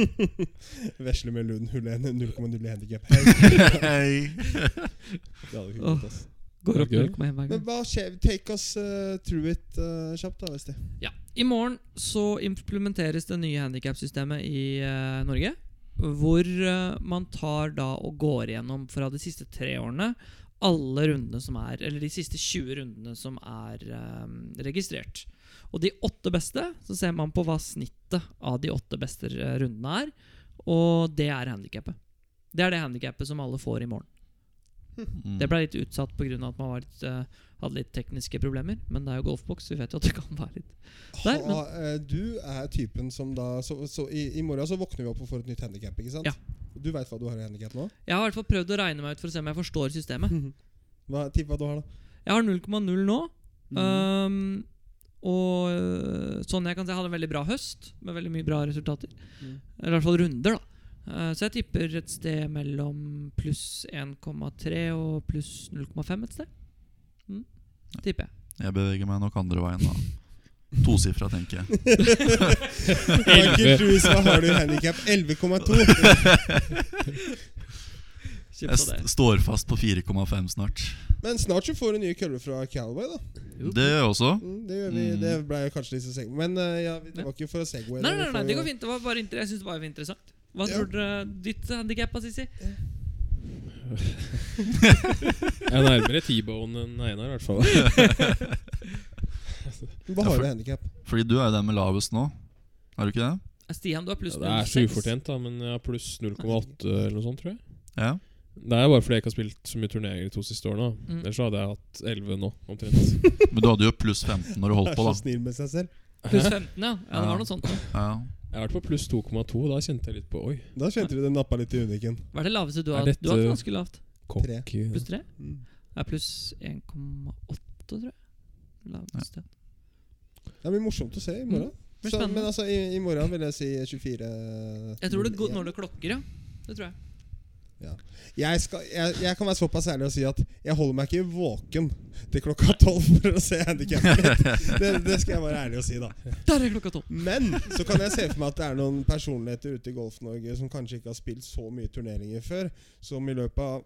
[SPEAKER 5] Vesle med Lund hull 0,0 i handikap. Det
[SPEAKER 4] Hei!
[SPEAKER 5] hadde vi ikke gjort, ass.
[SPEAKER 3] Går opp
[SPEAKER 2] Gøy.
[SPEAKER 3] 0,1 hver gang.
[SPEAKER 5] Men hva skjer? Take us eh, through it eh, kjapt, da, Vesti.
[SPEAKER 3] Ja. I morgen så implementeres det nye handikapsystemet i eh, Norge. Hvor eh, man tar da og går igjennom fra de siste tre årene alle rundene som er Eller de siste 20 rundene som er eh, registrert. Og de åtte beste, så ser man på hva snittet av de åtte beste eh, rundene er. Og det er handikappet. Det er det handikappet som alle får i morgen.
[SPEAKER 4] Mm.
[SPEAKER 3] Det ble litt utsatt pga. at man var litt, eh, hadde litt tekniske problemer. Men det er jo golfboks, så vi vet jo at det kan være litt Der, men-
[SPEAKER 5] ha, eh, du er typen som da så, så i, I morgen så våkner vi opp og får et nytt handikap, ikke sant?
[SPEAKER 3] Ja.
[SPEAKER 5] Du veit hva du har i handikap nå?
[SPEAKER 3] Jeg har i hvert fall prøvd å regne meg ut for å se om jeg forstår systemet.
[SPEAKER 5] Hva, Tipp hva du har, da.
[SPEAKER 3] Jeg har 0,0 nå.
[SPEAKER 2] Mhm.
[SPEAKER 3] øhm, og øh, sånn jeg kan se, jeg hadde en veldig bra høst med veldig mye bra resultater.
[SPEAKER 5] Mm.
[SPEAKER 3] Eller i hvert fall runder, da. Eh, så jeg tipper et sted mellom pluss 1,3 og pluss 0,5 et sted. Mm. Tipper jeg.
[SPEAKER 4] Jeg beveger meg nok andre veien, da. Tosifra, tenker jeg.
[SPEAKER 5] Michael Drews, hva har du i handikap? 11,2.
[SPEAKER 3] Kjipt
[SPEAKER 4] Jeg
[SPEAKER 3] av det.
[SPEAKER 4] st står fast på 4,5 snart.
[SPEAKER 5] Men snart så får du nye køller fra Calaway, da.
[SPEAKER 3] Jo.
[SPEAKER 4] Det gjør jeg også.
[SPEAKER 5] Mm, det gjør vi.
[SPEAKER 4] Mm.
[SPEAKER 5] Det ble jo kanskje litt så seg... Men eh, ja, vi- det
[SPEAKER 3] Ja.
[SPEAKER 5] var ikke for å segway.
[SPEAKER 3] Nei,
[SPEAKER 5] da.
[SPEAKER 3] nei,
[SPEAKER 5] Vi
[SPEAKER 3] nei,
[SPEAKER 5] får
[SPEAKER 3] det
[SPEAKER 5] jo-
[SPEAKER 3] går fint. Det var bare inter jeg synes det var interessant. Hva
[SPEAKER 5] Ja.
[SPEAKER 3] tror dere ditt handikap er, Sissi?
[SPEAKER 2] Jeg er nærmere T-bone enn Einar, i hvert fall.
[SPEAKER 5] Hva har
[SPEAKER 4] Ja, for-
[SPEAKER 5] du i handikap?
[SPEAKER 4] Fordi du er jo den med lavest nå. Er du ikke det?
[SPEAKER 3] Eh, Stian, du har pluss
[SPEAKER 2] Ja, det er så
[SPEAKER 3] 06.
[SPEAKER 2] ufortjent, da, men jeg har pluss 0,8 eller noe sånt, tror jeg.
[SPEAKER 4] Ja.
[SPEAKER 2] Det er bare fordi jeg ikke har spilt så mye turneringer de to siste årene. da.
[SPEAKER 3] Mm.
[SPEAKER 2] Ellers så hadde jeg hatt 11 nå, omtrent.
[SPEAKER 4] Men du hadde jo pluss 15 når du holdt
[SPEAKER 1] så
[SPEAKER 4] på, da.
[SPEAKER 1] snill med seg selv.
[SPEAKER 3] Pluss 15, ja. ja. Det var noe sånt. da.
[SPEAKER 4] Ja.
[SPEAKER 2] Jeg har vært på pluss 2,2, da kjente jeg litt på Oi,
[SPEAKER 1] Da kjente du det nappa litt i uniken.
[SPEAKER 3] Hva er det laveste du
[SPEAKER 2] Er
[SPEAKER 3] har?
[SPEAKER 2] dette-
[SPEAKER 3] Du har hatt ganske lavt.
[SPEAKER 2] kokk eh,
[SPEAKER 1] Tre.
[SPEAKER 3] Pluss 3?
[SPEAKER 1] Mm.
[SPEAKER 3] Det er pluss 1,8, tror jeg. Laveste.
[SPEAKER 1] Det blir morsomt å se i morgen.
[SPEAKER 3] Mm. blir
[SPEAKER 1] Så,
[SPEAKER 3] spennende.
[SPEAKER 1] men altså, i, i morgen vil jeg si 24
[SPEAKER 3] Jeg tror det går når det klokker, ja. Det tror jeg.
[SPEAKER 1] jeg, skal, jeg, jeg kan være såpass ærlig og si at jeg holder meg ikke våken til klokka tolv for å se handikappet mitt. Det, det skal jeg være ærlig og si, da.
[SPEAKER 3] Der er klokka tolv!
[SPEAKER 1] Men så kan jeg se for meg at det er noen personligheter ute i Golf-Norge som kanskje ikke har spilt så mye turneringer før, som i løpet av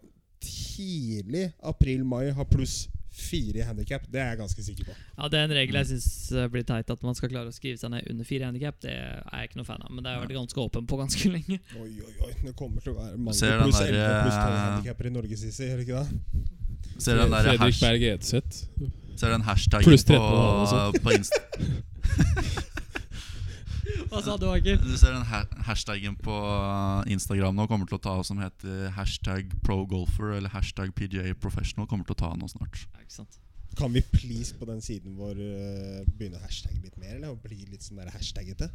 [SPEAKER 1] tidlig april-mai har pluss fire i handikap. Det er jeg ganske sikker på.
[SPEAKER 3] Ja, Det er en regel jeg syns blir teit, at man skal klare å skrive seg ned under fire handikap. Det er jeg ikke noe fan av, men det har jeg vært ganske åpen på ganske lenge.
[SPEAKER 1] Oi, oi, oi. Det kommer til å være mange
[SPEAKER 4] ser den
[SPEAKER 1] pluss
[SPEAKER 4] der,
[SPEAKER 1] elleve pluss tolv
[SPEAKER 4] eh,
[SPEAKER 1] handikaper i Norge, Sissi. Gjør det ikke det?
[SPEAKER 4] Ser den, der
[SPEAKER 2] Fredrik
[SPEAKER 4] hash,
[SPEAKER 2] Berg Edseth.
[SPEAKER 4] ser den hashtagen
[SPEAKER 2] Pluss 13
[SPEAKER 4] på,
[SPEAKER 1] altså.
[SPEAKER 2] også.
[SPEAKER 4] på Insta
[SPEAKER 3] Hva sa du, Aker?
[SPEAKER 4] Du ser den ha- hashtagen på eh, Instagram nå kommer til å ta som heter hashtag progolfer eller hashtag PGA professional. Kommer til å ta nå snart.
[SPEAKER 3] Ja, ikke sant.
[SPEAKER 1] Kan vi please på den siden vår eh, begynne å hashtagge litt mer, eller? Og bli litt sånn der hashtaggete?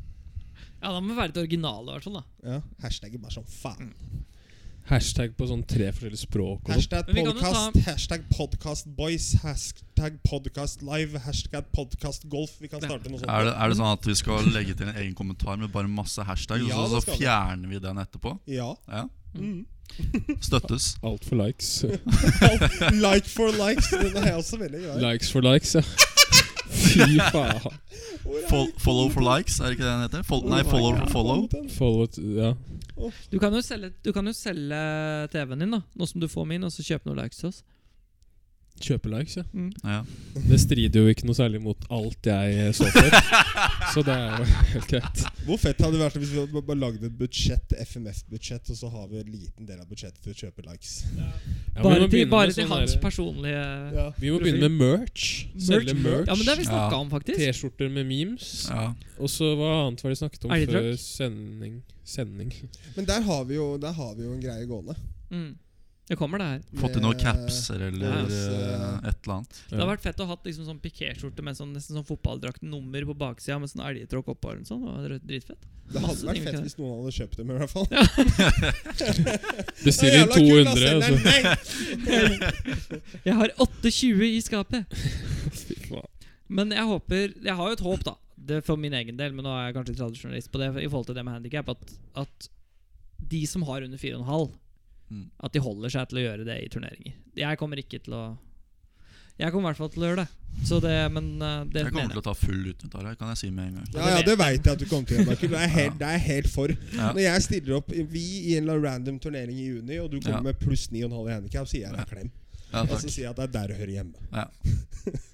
[SPEAKER 3] Ja, da må vi være litt originale, i hvert fall. da
[SPEAKER 1] Ja, hashtagge bare som faen.
[SPEAKER 2] Hashtag på sånn tre forskjellige språk. Og sånt.
[SPEAKER 1] Hashtag
[SPEAKER 3] Men vi kan jo
[SPEAKER 1] podcast, hashtag podcast boys, hashtag podcast live, hashtag podcast golf. Vi kan starte noe sånt.
[SPEAKER 4] Er det, er det sånn at vi skal legge til en egen kommentar med bare masse hashtags,
[SPEAKER 1] Ja,
[SPEAKER 4] og så,
[SPEAKER 1] det
[SPEAKER 4] så
[SPEAKER 1] skal vi.
[SPEAKER 4] fjerner vi den etterpå?
[SPEAKER 1] Ja.
[SPEAKER 4] Ja.
[SPEAKER 1] Mm.
[SPEAKER 4] Støttes.
[SPEAKER 2] sånn. Alt for likes.
[SPEAKER 1] Like for likes. Den er jeg også veldig glad i.
[SPEAKER 2] likes for likes, ja. Fy faen.
[SPEAKER 1] Hvor er
[SPEAKER 4] Fol follow for likes, er det ikke det den heter? Fol nei,
[SPEAKER 1] Hvor er
[SPEAKER 4] follow
[SPEAKER 1] jeg?
[SPEAKER 4] for follow.
[SPEAKER 2] Follow t- Ja.
[SPEAKER 3] Du kan jo selge, du kan jo selge TV-en din, da nå som du får min, og så kjøpe noen likes til oss.
[SPEAKER 2] Kjøpe likes, ja.
[SPEAKER 4] Ja.
[SPEAKER 2] Det strider jo ikke noe særlig mot alt jeg så for. Så det er jo helt greit.
[SPEAKER 1] Hvor fett hadde det vært hvis vi hadde bare lagd et budsjett, FMF-budsjett, og så har vi en liten del av budsjettet til å kjøpe likes?
[SPEAKER 2] Ja, men vi
[SPEAKER 3] Bare
[SPEAKER 2] må
[SPEAKER 3] til,
[SPEAKER 2] begynne med
[SPEAKER 3] bare til
[SPEAKER 2] sånn
[SPEAKER 3] hans
[SPEAKER 2] der-
[SPEAKER 3] personlige ja.
[SPEAKER 2] Vi må begynne med merch. Selge merch.
[SPEAKER 3] men det har vi snakka om, faktisk.
[SPEAKER 2] T-skjorter med memes.
[SPEAKER 4] Ja.
[SPEAKER 2] Og så hva annet var det snakket om
[SPEAKER 3] Elgdrakk?
[SPEAKER 2] før sending? Sending
[SPEAKER 1] Men der har vi jo, der har vi jo en greie gående.
[SPEAKER 3] Mm. Det kommer, det her.
[SPEAKER 4] Fått inn noen capser eller
[SPEAKER 1] Yes,
[SPEAKER 4] eh,
[SPEAKER 1] eh.
[SPEAKER 4] et eller annet.
[SPEAKER 3] Det hadde vært fett å ha liksom sånn pikéskjorte med sånn, nesten sånn fotballdraktnummer på baksida med sånn elgtråkk oppå. eller noe sånt. Det var Dritfett.
[SPEAKER 1] Det
[SPEAKER 3] Masse
[SPEAKER 1] hadde
[SPEAKER 3] ting
[SPEAKER 1] vært
[SPEAKER 3] vi
[SPEAKER 1] fett
[SPEAKER 3] kan-
[SPEAKER 1] hvis noen hadde kjøpt dem, i hvert fall.
[SPEAKER 2] Bestill inn altså. 200, og så
[SPEAKER 3] Jeg har 8,20 i skapet!
[SPEAKER 2] Fy faen.
[SPEAKER 3] Men jeg håper Jeg har jo et håp, da. Det er for min egen del, men nå er jeg kanskje tradisjonalist på det i forhold til det med handikap. At, at de som har under 4,5,
[SPEAKER 4] Mm.
[SPEAKER 3] at de holder seg til å gjøre det i turneringer. Jeg kommer ikke til å Jeg kommer i hvert fall til å gjøre det. Så det Men eh, det
[SPEAKER 4] Jeg kommer til å ta full utnytt av det, kan jeg si med en gang.
[SPEAKER 1] Ja, ja, det veit jeg at du kommer til å gjøre, Markus. Det er jeg helt, det er jeg helt for.
[SPEAKER 4] Ja.
[SPEAKER 1] Når jeg stiller opp i- vi i en eller annen random turnering i juni, og du kommer
[SPEAKER 4] Ja.
[SPEAKER 1] med pluss 9,5 i handikap, sier jeg deg klem.
[SPEAKER 4] Ja,
[SPEAKER 1] Og
[SPEAKER 4] takk.
[SPEAKER 1] så sier jeg at det er der du hører hjemme.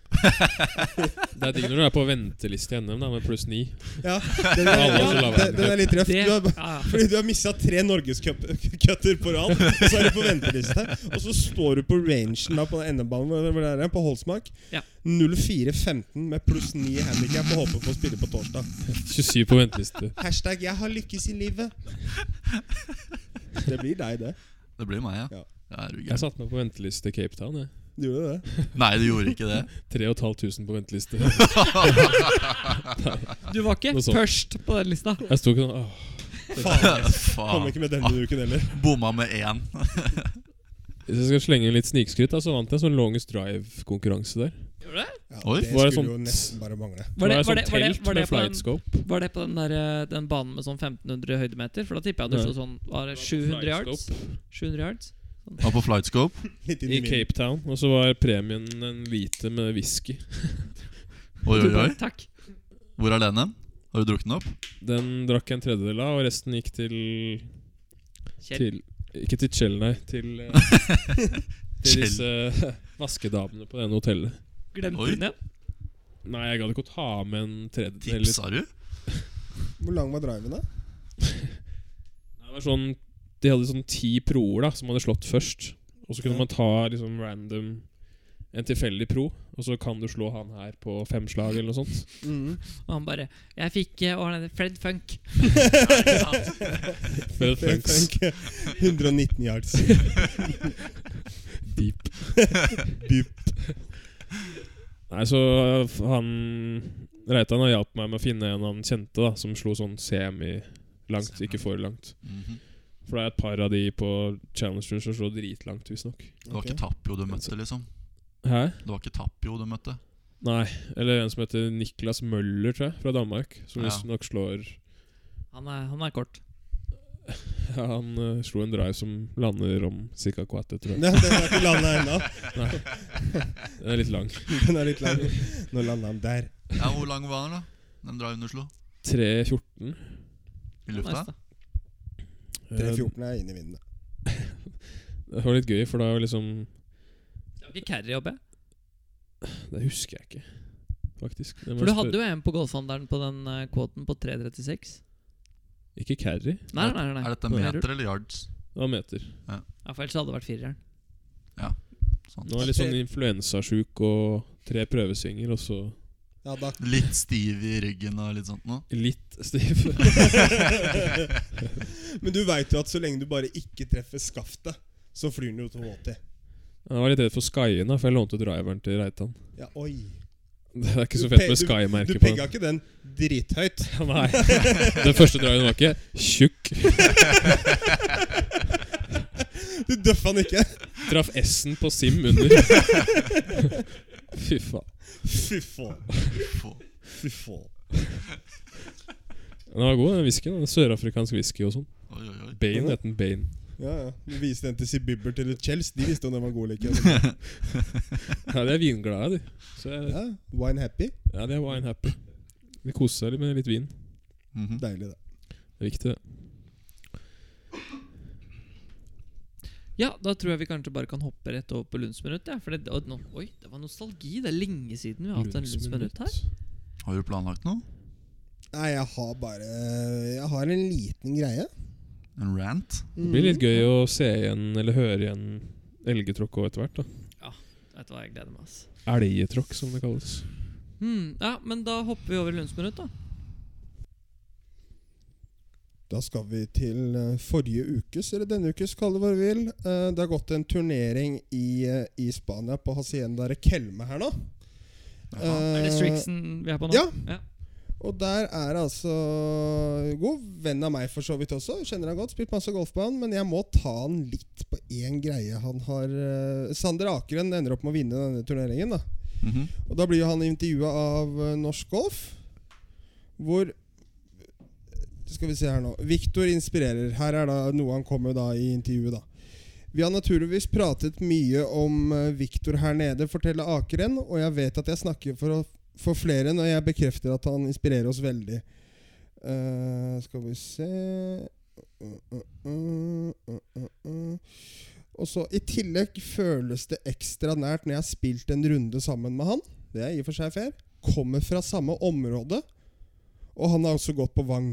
[SPEAKER 2] Det er digg når du er på venteliste i NM da med pluss ni.
[SPEAKER 1] Ja, Den
[SPEAKER 2] Alle
[SPEAKER 1] er,
[SPEAKER 2] som
[SPEAKER 1] ja,
[SPEAKER 2] lager
[SPEAKER 1] den, den er litt røff.
[SPEAKER 3] det,
[SPEAKER 1] Du har,
[SPEAKER 3] ja, ja.
[SPEAKER 1] fordi du har mista tre norgescutter på rad, og så er du på venteliste. Og så står du på rangen da på den endebanen hvor- hvor det er, på Holsmark.
[SPEAKER 3] Ja.
[SPEAKER 1] 0415 med pluss 9 handikap og håper på å spille på torsdag.
[SPEAKER 2] 27 på venteliste.
[SPEAKER 1] Hashtag 'jeg har lykkes i livet'. Det blir deg, det.
[SPEAKER 4] Det blir meg, ja.
[SPEAKER 1] Ja.
[SPEAKER 4] Det er jo
[SPEAKER 2] Jeg
[SPEAKER 4] gøy.
[SPEAKER 2] satte meg på venteliste i Cape Town. jeg.
[SPEAKER 1] Du gjorde det?
[SPEAKER 4] Nei, du gjorde ikke det.
[SPEAKER 2] 3500 på venteliste.
[SPEAKER 3] Du var ikke
[SPEAKER 2] Noe sånt.
[SPEAKER 3] først på den lista.
[SPEAKER 2] Jeg sto ikke sånn åh.
[SPEAKER 1] Kom
[SPEAKER 4] Faen.
[SPEAKER 1] ikke med denne uken heller.
[SPEAKER 4] Bomma med én.
[SPEAKER 2] Hvis jeg skal slenge inn litt snikskryt, da, så vant jeg en sånn Longest Drive-konkurranse der.
[SPEAKER 1] Ja,
[SPEAKER 4] Oi.
[SPEAKER 1] det
[SPEAKER 2] Var
[SPEAKER 1] skulle
[SPEAKER 2] det sånn
[SPEAKER 1] jo
[SPEAKER 2] sånt-
[SPEAKER 1] nesten bare mangle.
[SPEAKER 3] Var det,
[SPEAKER 2] Det
[SPEAKER 3] var
[SPEAKER 2] var
[SPEAKER 3] det,
[SPEAKER 2] et
[SPEAKER 3] var det,
[SPEAKER 2] sånt
[SPEAKER 3] var
[SPEAKER 2] telt
[SPEAKER 3] det,
[SPEAKER 2] med
[SPEAKER 3] på, den,
[SPEAKER 2] flightscope.
[SPEAKER 3] var det på den, der, eh, den banen med sånn 1500 høydemeter? For da tipper jeg at du
[SPEAKER 2] Nei.
[SPEAKER 3] slo sånn var det 700 yards. 700 yards?
[SPEAKER 4] Og på flightscope.
[SPEAKER 1] Litt inn
[SPEAKER 2] I
[SPEAKER 1] i vinden.
[SPEAKER 2] Cape Town. Og så var premien en liter med whisky.
[SPEAKER 4] Oi,
[SPEAKER 3] Du
[SPEAKER 4] oi,
[SPEAKER 3] bare,
[SPEAKER 4] oi.
[SPEAKER 3] Takk.
[SPEAKER 4] Hvor er den hen? Har du drukket den opp?
[SPEAKER 2] Den drakk jeg en tredjedel av, og resten gikk til,
[SPEAKER 3] Kjell.
[SPEAKER 2] til Ikke til Kjell, nei. Til, eh, til
[SPEAKER 4] Kjell.
[SPEAKER 2] disse vaskedamene på det ene hotellet.
[SPEAKER 3] Glemte
[SPEAKER 4] Oi.
[SPEAKER 3] du den igjen?
[SPEAKER 2] Nei, jeg gadd ikke å ta med en tredjedel. eller-
[SPEAKER 4] Tipsa du?
[SPEAKER 1] Hvor lang var driven, da?
[SPEAKER 2] Nei, Det var sånn De hadde sånn ti proer da som hadde slått først. Og så kunne
[SPEAKER 1] Ja.
[SPEAKER 2] man ta liksom random en tilfeldig pro, og så kan du slå han her på fem slag eller noe sånt.
[SPEAKER 1] Mm.
[SPEAKER 3] Og han bare 'Jeg fikk eh, hva er det, Fred Funk'.
[SPEAKER 2] Fred Funks
[SPEAKER 1] Funk. 119 yards.
[SPEAKER 2] deep. Nei, så eh, han Reitan har hjulpet meg med å finne en han kjente, da, som slo sånn semi-langt, ikke for langt.
[SPEAKER 4] Mhm.
[SPEAKER 2] For det er et par av de på Challengers som slår dritlangt, visstnok.
[SPEAKER 4] Det var ikke Tapio du møtte, liksom?
[SPEAKER 2] Hæ?
[SPEAKER 4] Det var ikke Tapio du møtte?
[SPEAKER 2] Nei. Eller en som heter Niklas Møller, tror jeg, fra Danmark. Som
[SPEAKER 4] Ja.
[SPEAKER 2] visstnok slår
[SPEAKER 3] Han er, han er kort.
[SPEAKER 2] ja, Han eh, slo en drive som lander om ca. kvarte, tror jeg.
[SPEAKER 1] Den den er ikke landa ennå.
[SPEAKER 2] Den er litt lang.
[SPEAKER 1] Den er litt lang. Nå landa han der.
[SPEAKER 4] Ja, Hvor lang var den, da? Den driven du slo?
[SPEAKER 2] 3.14.
[SPEAKER 4] I
[SPEAKER 3] Han er
[SPEAKER 4] lufta?
[SPEAKER 3] nice, da.
[SPEAKER 2] Eh,
[SPEAKER 1] 314 er inn i vinden.
[SPEAKER 2] Det var litt gøy, for da liksom
[SPEAKER 3] Det var ikke carry oppe.
[SPEAKER 2] Det husker jeg ikke, faktisk. Det må
[SPEAKER 3] For du
[SPEAKER 2] jeg
[SPEAKER 3] hadde
[SPEAKER 2] spørre-
[SPEAKER 3] jo en på golfhandelen på den eh, kvoten på 3.36.
[SPEAKER 2] Ikke carry.
[SPEAKER 3] Nei, nei, nei. nei.
[SPEAKER 4] Er dette meter eller yards?
[SPEAKER 2] Det var meter.
[SPEAKER 3] Ja, for ellers hadde det vært fireren.
[SPEAKER 4] Sånn.
[SPEAKER 2] Nå er jeg litt sånn influensasjuk og tre prøvesvinger, og så
[SPEAKER 1] Ja, da
[SPEAKER 4] Litt stiv i ryggen og litt sånt nå?
[SPEAKER 2] litt stiv.
[SPEAKER 1] Men du veit jo at så lenge du bare ikke treffer skaftet, så flyr den jo til HT.
[SPEAKER 2] Jeg var litt redd for Skyen, da, for jeg lånte driveren til Reitan.
[SPEAKER 1] Ja, oi.
[SPEAKER 2] Det er ikke
[SPEAKER 1] Du
[SPEAKER 2] så fett
[SPEAKER 1] pe-
[SPEAKER 2] med
[SPEAKER 1] Du
[SPEAKER 2] Sky-merket på
[SPEAKER 1] pegga
[SPEAKER 2] den.
[SPEAKER 1] ikke den drithøyt.
[SPEAKER 2] Nei. Den første driven var ikke tjukk.
[SPEAKER 1] Du døffa den ikke.
[SPEAKER 2] Traff S-en på Sim under. Fy faen.
[SPEAKER 1] Fy faen.
[SPEAKER 4] Få-
[SPEAKER 1] Fy faen.
[SPEAKER 2] Den var god, den whiskyen. Den Sørafrikansk whisky og sånn.
[SPEAKER 4] Oi, oi, oi.
[SPEAKER 2] Bane het den Bane.
[SPEAKER 1] Ja, ja. Du viste den til Sibibber til Chels. De visste om den var god eller ikke.
[SPEAKER 2] Ja, de er vinglade, de. Så jeg,
[SPEAKER 1] Ja, Wine happy.
[SPEAKER 2] ja, de er wine happy. De koser seg litt med litt vin.
[SPEAKER 4] Mhm.
[SPEAKER 1] Deilig, det.
[SPEAKER 2] Det er viktig, det.
[SPEAKER 3] Ja, da tror jeg vi kanskje bare kan hoppe rett over på Lundsminutt. Ja, for det, og nå, oi, det var nostalgi. Det er lenge siden vi har hatt en Lundsminutt her.
[SPEAKER 4] Har du planlagt noe?
[SPEAKER 1] Nei, jeg har bare Jeg har en liten greie.
[SPEAKER 4] En rant?
[SPEAKER 2] Det blir litt gøy å se igjen, eller høre igjen, elgetråkk og etter hvert. da
[SPEAKER 3] Vet du hva, jeg gleder meg. ass.
[SPEAKER 2] Elgetråkk, som det kalles.
[SPEAKER 3] Hmm, ja, men da hopper vi over Lundsminutt, da.
[SPEAKER 1] Da skal vi til eh, forrige ukes, eller denne ukes, kall det hva du vil. Eh, Det har gått en turnering i, eh, i Spania, på Hacienda Rekelme her nå.
[SPEAKER 4] Jaha.
[SPEAKER 3] Er det
[SPEAKER 1] Eh,
[SPEAKER 3] Strixen vi er på nå?
[SPEAKER 1] Ja. Og der er altså god venn av meg for så vidt også. Kjenner han godt, spilt masse golf på han. Men jeg må ta han litt på én greie han har eh, Sander Akeren ender opp med å vinne denne turneringen. da
[SPEAKER 4] Mhm.
[SPEAKER 1] og da blir jo han intervjua av eh, Norsk Golf, hvor eh, Skal vi se her nå. Viktor inspirerer. Her er da noe han kommer da i intervjuet, da. Vi har naturligvis pratet mye om eh, Viktor her nede, forteller Akeren, og jeg vet at jeg snakker for, å- for flere når jeg bekrefter at han inspirerer oss veldig. Eh, skal vi se Uh, uh, uh, uh, uh, uh. Og så I tillegg føles det ekstra nært når jeg har spilt en runde sammen med han. Det er i og for seg fair. Kommer fra samme område, og han har også gått på Vang.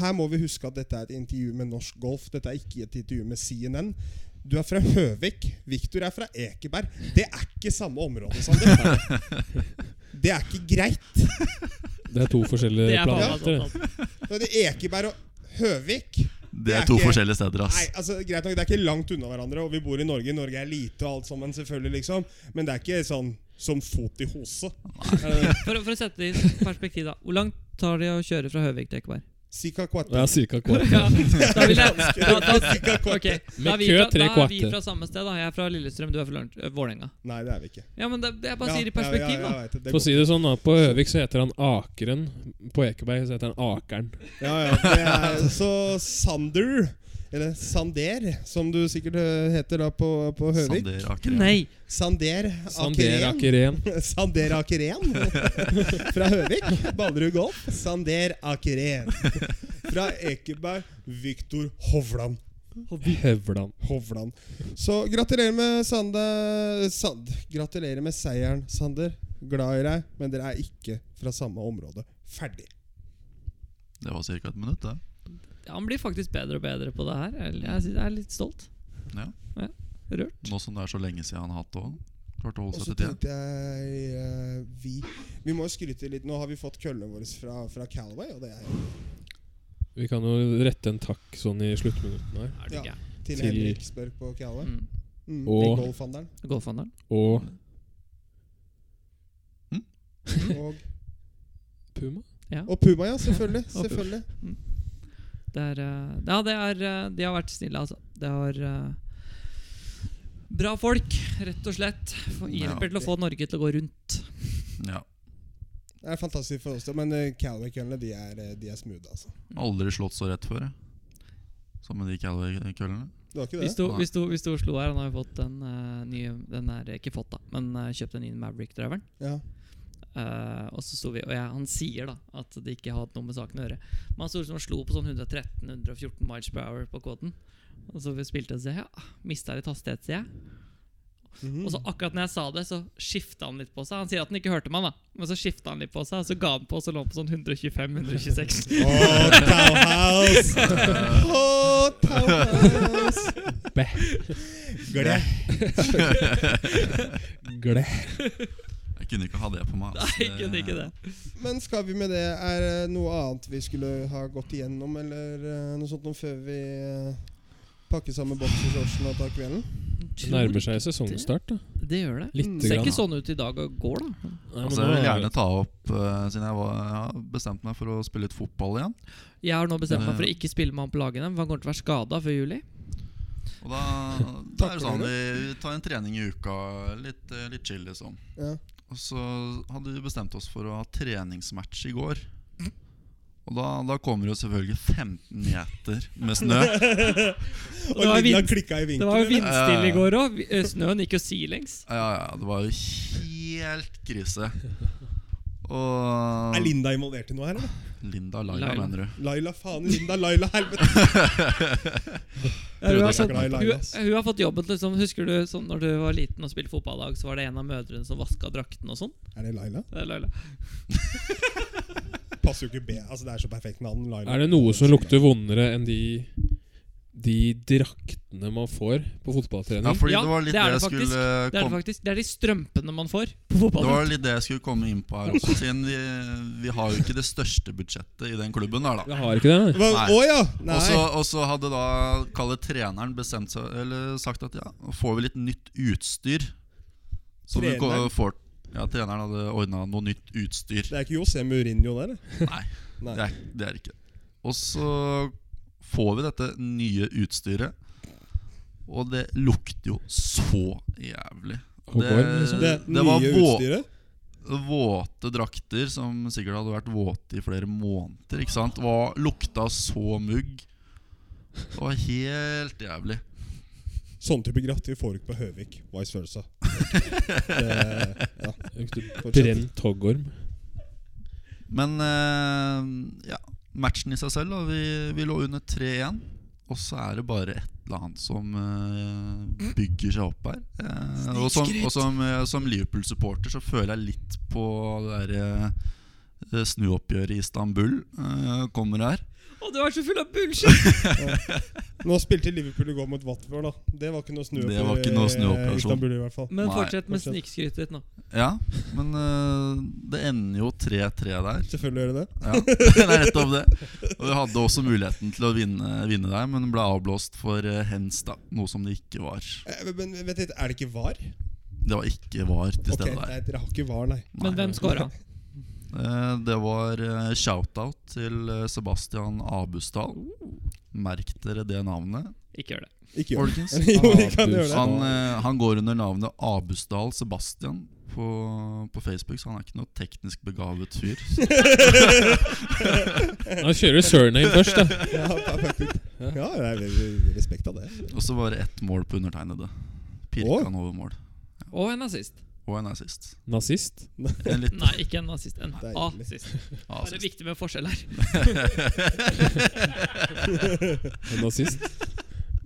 [SPEAKER 1] Her må vi huske at dette er et intervju med Norsk Golf. Dette er ikke et intervju med CNN. Du er fra Høvik. Viktor er fra Ekeberg. Det er ikke samme område, Sander. Det er ikke greit.
[SPEAKER 2] Det er to forskjellige
[SPEAKER 3] Det er faen meg
[SPEAKER 2] planeter. det.
[SPEAKER 3] sant, ass.
[SPEAKER 1] Det er Ekeberg og Høvik
[SPEAKER 4] Det er
[SPEAKER 1] er
[SPEAKER 4] to
[SPEAKER 1] ikke-
[SPEAKER 4] forskjellige steder, ass.
[SPEAKER 1] Nei, altså greit nok, Det er ikke langt unna hverandre, og vi bor i Norge. Norge er lite og alt sammen, selvfølgelig, liksom. Men det er ikke sånn som fot i hose. Eh,
[SPEAKER 3] For, å- for å sette det i perspektiv, da. Hvor langt tar det å kjøre fra Høvik til Ekeberg?
[SPEAKER 1] Sika kvart.
[SPEAKER 2] Det er cirka kvart.
[SPEAKER 3] Ja, da vil jeg da, da, ok, da
[SPEAKER 2] Med
[SPEAKER 3] er vi
[SPEAKER 2] kø
[SPEAKER 3] fra,
[SPEAKER 2] tre
[SPEAKER 3] da er vi
[SPEAKER 2] kvarter.
[SPEAKER 3] fra samme sted, da. Jeg er fra Lillestrøm, du er fra Lørn- øh, Vålerenga.
[SPEAKER 1] Nei, det er vi ikke.
[SPEAKER 3] Ja, men det, det jeg bare
[SPEAKER 1] Ja,
[SPEAKER 3] sier i
[SPEAKER 1] ja,
[SPEAKER 3] perspektiv,
[SPEAKER 1] ja,
[SPEAKER 3] da.
[SPEAKER 1] jeg vet det, det
[SPEAKER 2] For å si det sånn, da, på Høvik så heter han Akeren. På Ekeberg så heter han Akeren.
[SPEAKER 1] går. ja, ja, det er, så Sander, eller Sander, som du sikkert eh, heter da på, på Høvik.
[SPEAKER 4] Sander Aker.
[SPEAKER 3] Nei!
[SPEAKER 1] Sander
[SPEAKER 2] Sander
[SPEAKER 1] Akeren.
[SPEAKER 2] Akeren.
[SPEAKER 1] Sander Akeren fra Høvik. Ballerud Golf. Sander Akeren fra Ekeberg. Viktor Hovland.
[SPEAKER 2] Høvland.
[SPEAKER 1] Hovland. Så gratulerer med Sander Sand. Gratulerer med seieren, Sander. Glad i deg, men dere er ikke fra samme område. Ferdig.
[SPEAKER 4] Det var ca. et minutt, det.
[SPEAKER 3] Han blir faktisk bedre og bedre på det her. Jeg, jeg, synes- jeg er litt stolt.
[SPEAKER 4] Ja.
[SPEAKER 3] Rørt.
[SPEAKER 4] Nå som det er så lenge siden han har hatt det òg. Klarte å
[SPEAKER 1] Og
[SPEAKER 4] holde
[SPEAKER 1] så
[SPEAKER 4] seg til det.
[SPEAKER 1] tenkte jeg eh, vi, vi må jo skryte litt. Nå har vi fått køllene våre fra, fra Calaway, og det er jo
[SPEAKER 2] Vi kan jo rette en takk sånn i sluttminuttene her.
[SPEAKER 3] Er det
[SPEAKER 1] Ja. til,
[SPEAKER 3] ikke?
[SPEAKER 2] Til-
[SPEAKER 1] Henrik Spørg på Calaway.
[SPEAKER 3] Mm.
[SPEAKER 1] Mm.
[SPEAKER 2] Og-
[SPEAKER 1] Golfhandelen.
[SPEAKER 3] Golfhandelen.
[SPEAKER 2] Og
[SPEAKER 1] Og,
[SPEAKER 2] Puma.
[SPEAKER 1] og Puma, ja. Selvfølgelig.
[SPEAKER 3] Og Puma.
[SPEAKER 1] selvfølgelig.
[SPEAKER 3] Det er eh, Ja, det er eh, De har vært snille, altså. Det har eh, Bra folk, rett og slett. Få- Hjelper til å få Norge til å gå rundt.
[SPEAKER 4] Ja.
[SPEAKER 1] Det er fantastisk for oss, da, men eh, Calaway-køllene de er, eh, de er smooth, altså.
[SPEAKER 4] Aldri slått så rett før, jeg. Sammen med de Calaway-køllene.
[SPEAKER 1] Det var ikke
[SPEAKER 3] Hvis
[SPEAKER 1] det?
[SPEAKER 3] du,
[SPEAKER 4] Nei.
[SPEAKER 3] hvis, du, hvis du Oslo her, han har jo fått den eh, nye Den er ikke fått, da, men eh, kjøpt den nye Maverick-driveren.
[SPEAKER 1] Ja.
[SPEAKER 3] Eh, og så sto vi Og jeg, han sier da at det ikke har hatt noe med saken å gjøre. Men han sto liksom og slo på sånn 113-114 miles per hour på kvoten. Og så vi spilte og så ja, mista litt hastighet, sier jeg.
[SPEAKER 1] Mhm.
[SPEAKER 3] Og så akkurat når jeg sa det, så skifta han litt på seg. Han sier at han ikke hørte meg, da. Men så skifta han litt på seg, og så ga han på, og så lå han på sånn 125-126.
[SPEAKER 1] Åh, Tauhaus! Åh, Tauhaus!
[SPEAKER 2] Bæ.
[SPEAKER 1] Gled.
[SPEAKER 2] Gle.
[SPEAKER 4] Jeg kunne ikke ha det på meg. altså.
[SPEAKER 3] Nei, jeg kunne ikke det.
[SPEAKER 1] Men skal vi med det? Er det noe annet vi skulle ha gått igjennom, eller eh, noe sånt noe før vi eh, pakker sammen boksershortsen og tar kvelden?
[SPEAKER 2] Det nærmer seg sesongstart, da.
[SPEAKER 1] Mm.
[SPEAKER 3] Det gjør det.
[SPEAKER 2] Lite
[SPEAKER 3] Ser
[SPEAKER 2] grann.
[SPEAKER 3] ikke sånn ut i dag og går, da.
[SPEAKER 2] Nei, men
[SPEAKER 4] Altså,
[SPEAKER 2] nå
[SPEAKER 4] jeg vil
[SPEAKER 2] er-
[SPEAKER 4] gjerne ta opp, eh, siden jeg, var, jeg har bestemt meg for å spille litt fotball igjen.
[SPEAKER 3] Jeg har nå bestemt meg for å
[SPEAKER 4] Ja.
[SPEAKER 3] ikke spille med han på lagene, for han kommer til å være skada før juli.
[SPEAKER 4] Og da, da er det sånn vi tar en trening i uka. Litt, eh, litt chill, liksom.
[SPEAKER 1] Ja.
[SPEAKER 4] Og så hadde vi bestemt oss for å ha treningsmatch i går.
[SPEAKER 3] Mm.
[SPEAKER 4] Og da, da kommer det jo selvfølgelig 15 meter med snø.
[SPEAKER 1] Og
[SPEAKER 3] Det var
[SPEAKER 1] Linda
[SPEAKER 3] vind-
[SPEAKER 1] klikka i
[SPEAKER 3] Det var jo
[SPEAKER 1] vinkelen.
[SPEAKER 3] vindstille i går òg. Snøen gikk jo sidelengs.
[SPEAKER 4] Ja, ja, det var jo helt krise. Og
[SPEAKER 1] Er Linda involvert i noe her, eller?
[SPEAKER 4] Linda Laila,
[SPEAKER 3] Laila.
[SPEAKER 4] mener du?
[SPEAKER 1] Laila, faen i Linda, Laila, helvete!
[SPEAKER 3] Ja, hun,
[SPEAKER 4] Trodde
[SPEAKER 1] Jeg er
[SPEAKER 3] har
[SPEAKER 4] jeg
[SPEAKER 3] fått,
[SPEAKER 1] glad i
[SPEAKER 3] hun,
[SPEAKER 1] Laila, ass.
[SPEAKER 3] hun har fått jobben til liksom, Husker du sånn, når du var liten og spilte fotballag, så var det en av mødrene som vaska drakten og sånn?
[SPEAKER 1] Er det Laila?
[SPEAKER 3] Det er Laila.
[SPEAKER 1] Passer jo ikke B. Altså, det er så perfekt navn. Laila.
[SPEAKER 2] Er det noe som lukter vondere enn de De draktene man får på
[SPEAKER 4] Ja,
[SPEAKER 2] fotballtrening?
[SPEAKER 4] fordi
[SPEAKER 3] Ja,
[SPEAKER 4] det var litt
[SPEAKER 3] det
[SPEAKER 4] det,
[SPEAKER 3] er det
[SPEAKER 4] jeg
[SPEAKER 3] faktisk.
[SPEAKER 4] skulle
[SPEAKER 3] Det er det
[SPEAKER 4] komme
[SPEAKER 3] faktisk. Det er de strømpene man får på
[SPEAKER 4] det
[SPEAKER 3] fotballag.
[SPEAKER 4] var litt det jeg skulle komme inn på her også, siden vi, vi har jo ikke det største budsjettet i den klubben der, da.
[SPEAKER 2] Jeg har ikke det. nei.
[SPEAKER 1] Hva- Å
[SPEAKER 4] Nei.
[SPEAKER 1] ja! Nei.
[SPEAKER 4] Og så- Og så hadde da kalle treneren bestemt seg Eller sagt at ja, nå får vi litt nytt utstyr. Som vi ko-
[SPEAKER 1] Treneren?
[SPEAKER 4] får Ja, treneren hadde ordna noe nytt utstyr.
[SPEAKER 1] det er ikke José Mourinho der? eller?
[SPEAKER 4] Nei,
[SPEAKER 1] Nei.
[SPEAKER 4] Det, er, det er ikke Og så får vi dette nye utstyret Og det lukter jo så jævlig
[SPEAKER 2] Og går, liksom.
[SPEAKER 1] Det,
[SPEAKER 4] Det var
[SPEAKER 1] nye
[SPEAKER 4] vå-
[SPEAKER 1] utstyret?
[SPEAKER 4] Våte drakter som sikkert hadde vært våte i flere måneder Ikke sant? Var, lukta så mugg Det var helt jævlig
[SPEAKER 1] Sånn type gratter får du ikke på Høvik. Vice versa. det, ja,
[SPEAKER 2] Lukter
[SPEAKER 1] fortsett.
[SPEAKER 2] Brent hoggorm.
[SPEAKER 4] Men eh, ja, matchen i seg selv da, vi, vi lå under 3-1 og så er det bare et eller annet som eh, bygger seg opp her. Eh, og som, og som, eh, som Liverpool-supporter så føler jeg litt på det der, eh, snuoppgjøret i Istanbul. eh, kommer her.
[SPEAKER 3] Å, du er så full av bullshit!
[SPEAKER 1] Nå spilte Liverpool i går mot Watford, da. Det var ikke noe snu
[SPEAKER 4] Det var ikke noe altså. snuoperasjon.
[SPEAKER 1] Istanbul, i hvert fall.
[SPEAKER 3] Men
[SPEAKER 4] Nei,
[SPEAKER 3] fortsett med
[SPEAKER 1] fortsett.
[SPEAKER 3] snikskrytet ditt nå.
[SPEAKER 4] Ja, men eh, det ender jo 3-3 der.
[SPEAKER 1] Selvfølgelig gjør det det.
[SPEAKER 4] Ja, det er rett om det. Og vi hadde også muligheten til å vinne, vinne der, men ble avblåst for eh, hens, da. Noe som det ikke var.
[SPEAKER 1] Eh, Men men vent litt, er det ikke var?
[SPEAKER 4] Det var ikke var
[SPEAKER 1] Ok,
[SPEAKER 4] til stede der.
[SPEAKER 1] nei, Dere har ikke var, nei.
[SPEAKER 3] Men
[SPEAKER 4] Nei.
[SPEAKER 3] hvem scora?
[SPEAKER 4] Eh, Det var eh, shout-out til eh, Sebastian Abusdal. Merk dere det navnet,
[SPEAKER 3] Ikke gjør det.
[SPEAKER 1] Ikke gjør det.
[SPEAKER 4] folkens.
[SPEAKER 1] Jo,
[SPEAKER 2] Ah,
[SPEAKER 1] vi kan gjøre det.
[SPEAKER 4] Han, eh, han går under navnet Abusdal Sebastian på, på Facebook, så han er ikke noe teknisk begavet fyr.
[SPEAKER 2] Han kjører surname først, da.
[SPEAKER 1] Ja, perfekt. ja det er veldig respekt av det.
[SPEAKER 4] Og så var det ett mål på undertegnede.
[SPEAKER 1] Oi.
[SPEAKER 4] Pirka han over mål.
[SPEAKER 3] Og en nazist.
[SPEAKER 4] Og en assist.
[SPEAKER 2] Nazist.
[SPEAKER 4] En litt
[SPEAKER 3] Nei, ikke en nazist. En
[SPEAKER 1] Deilig.
[SPEAKER 3] asist. Det er
[SPEAKER 4] assist.
[SPEAKER 3] viktig med forskjell her.
[SPEAKER 2] En nazist.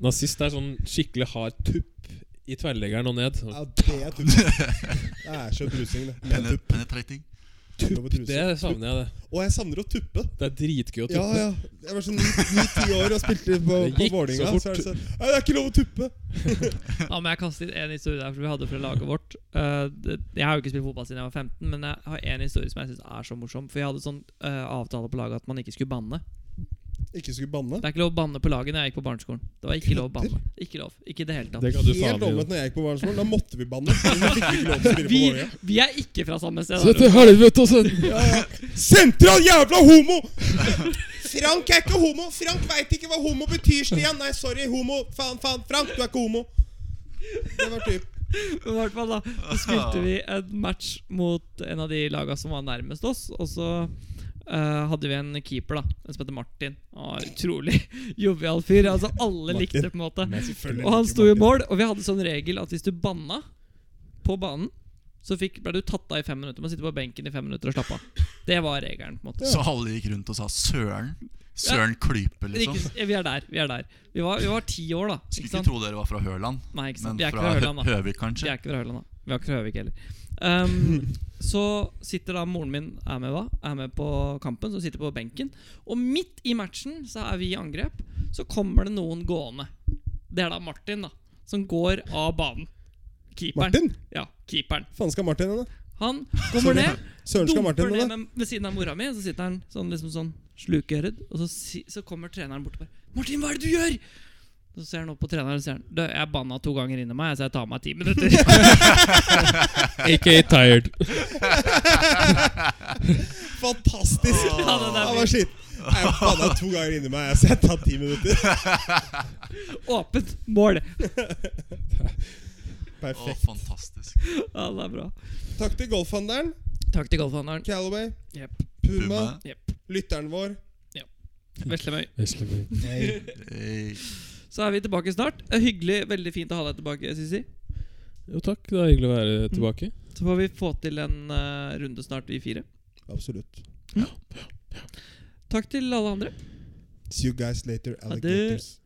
[SPEAKER 2] Nazist er sånn skikkelig hard tupp i tverrleggeren og ned.
[SPEAKER 1] Ja, det er tull. Det er så brusing, det. Men
[SPEAKER 4] Penet- Penetrating.
[SPEAKER 1] tupp over
[SPEAKER 2] Det
[SPEAKER 1] trusa.
[SPEAKER 2] savner jeg, det.
[SPEAKER 1] Og jeg savner å tuppe.
[SPEAKER 2] Det er
[SPEAKER 1] Ja,
[SPEAKER 2] dritgøy å tuppe.
[SPEAKER 1] ja. Jeg var sånn ni-ti år og spilte på, på
[SPEAKER 2] Det gikk så
[SPEAKER 1] Vålinga.
[SPEAKER 2] fort.
[SPEAKER 1] Så er det sånn Nei, det er ikke lov å tuppe!
[SPEAKER 3] Ja, men jeg kastet inn en historie der for vi hadde fra laget vårt. Eh, det, jeg har jo ikke spilt fotball siden jeg var 15, men jeg har en historie som jeg synes er så morsom. For jeg hadde sånn eh, avtale på laget at man ikke skulle banne.
[SPEAKER 1] Ikke skulle banne.
[SPEAKER 3] Det er ikke lov å banne på laget når jeg gikk på barneskolen. Det var ikke lov å banne. Ikke lov. Ikke i det hele tatt.
[SPEAKER 2] Det kan du faen
[SPEAKER 1] Helt
[SPEAKER 2] gjøre.
[SPEAKER 1] omvendt når jeg gikk på barneskolen. Da måtte vi banne. Da fikk vi ikke lov til å spille på
[SPEAKER 3] Vi,
[SPEAKER 1] Vålinga.
[SPEAKER 3] vi er ikke fra samme sted.
[SPEAKER 2] Så til helvete også!
[SPEAKER 1] Sentral jævla homo! Frank er ikke homo! Frank veit ikke hva homo betyr, Stian! Nei, sorry, homo! Faen, faen, Frank, du er ikke homo! Det var typ
[SPEAKER 3] Men I hvert fall da Så spilte vi en match mot en av de laga som var nærmest oss. Og så eh, hadde vi en keeper da en som heter Martin. Han var utrolig jovial fyr. Altså Alle likte det, på en måte. Og han sto i mål, og vi hadde sånn regel at hvis du banna på banen, så fikk, ble du tatt av i fem minutter. Man sitter på benken i fem minutter og slappe av. Det var regelen. på en måte
[SPEAKER 4] Så alle gikk rundt og sa 'Søren'. Søren Klype, liksom.
[SPEAKER 3] Ikke- Vi er der. Vi er der Vi var, vi var ti år, da.
[SPEAKER 4] Skulle
[SPEAKER 3] Ikke
[SPEAKER 4] ikke
[SPEAKER 3] sant?
[SPEAKER 4] tro dere var fra Høland,
[SPEAKER 3] Nei, ikke sant?
[SPEAKER 4] men
[SPEAKER 3] Vi er ikke
[SPEAKER 4] fra
[SPEAKER 3] fra
[SPEAKER 4] Hø-
[SPEAKER 3] Høland, da.
[SPEAKER 4] Høvik,
[SPEAKER 3] Vi
[SPEAKER 4] kanskje.
[SPEAKER 3] er ikke fra Høland, da. Vi har ikke fra Høvik heller. Ehm, så sitter da moren min er med, hva? Er med på kampen, så sitter på benken. Og midt i matchen så er vi i angrep. Så kommer det noen gående. Det er da Martin, da. Som går av banen. Keeperen.
[SPEAKER 1] Martin?
[SPEAKER 3] Ja, keeperen.
[SPEAKER 1] Faen skal Martin henne?
[SPEAKER 3] Han kommer ned,
[SPEAKER 1] Søren skal
[SPEAKER 3] dumper
[SPEAKER 1] Martin
[SPEAKER 3] ned
[SPEAKER 1] henne?
[SPEAKER 3] med, ved siden av mora mi, så sitter han sånn liksom sånn slukøret, og så, si, så kommer treneren bort og bare 'Martin, hva er det du gjør?' Så ser han opp på treneren og sier han, «Du, 'Jeg banna to ganger inni meg, så jeg tar meg ti minutter'.
[SPEAKER 2] Aka tired.
[SPEAKER 1] Fantastisk!
[SPEAKER 3] Ja, den er
[SPEAKER 1] Han var skitt. Jeg banna to ganger inni meg, så jeg tatt ti minutter.
[SPEAKER 3] Åpent mål!
[SPEAKER 4] Å,
[SPEAKER 1] Perfekt.
[SPEAKER 4] fantastisk.
[SPEAKER 3] Ja, det er bra.
[SPEAKER 1] Takk til golfhandleren,
[SPEAKER 3] Takk til golfhandleren.
[SPEAKER 1] Calaway,
[SPEAKER 3] Jepp.
[SPEAKER 1] Puma,
[SPEAKER 4] Puma.
[SPEAKER 3] Jepp.
[SPEAKER 1] lytteren vår.
[SPEAKER 3] Veslemøy.
[SPEAKER 4] Hey.
[SPEAKER 3] Så er vi tilbake snart. Eh, Hyggelig. Veldig fint å ha deg tilbake, Sissi.
[SPEAKER 2] Jo takk, det er hyggelig å være tilbake.
[SPEAKER 3] Så får vi få til en eh, runde snart, vi fire.
[SPEAKER 1] Absolutt.
[SPEAKER 3] Takk til alle andre.
[SPEAKER 1] See you guys later,
[SPEAKER 3] det-
[SPEAKER 1] alligators.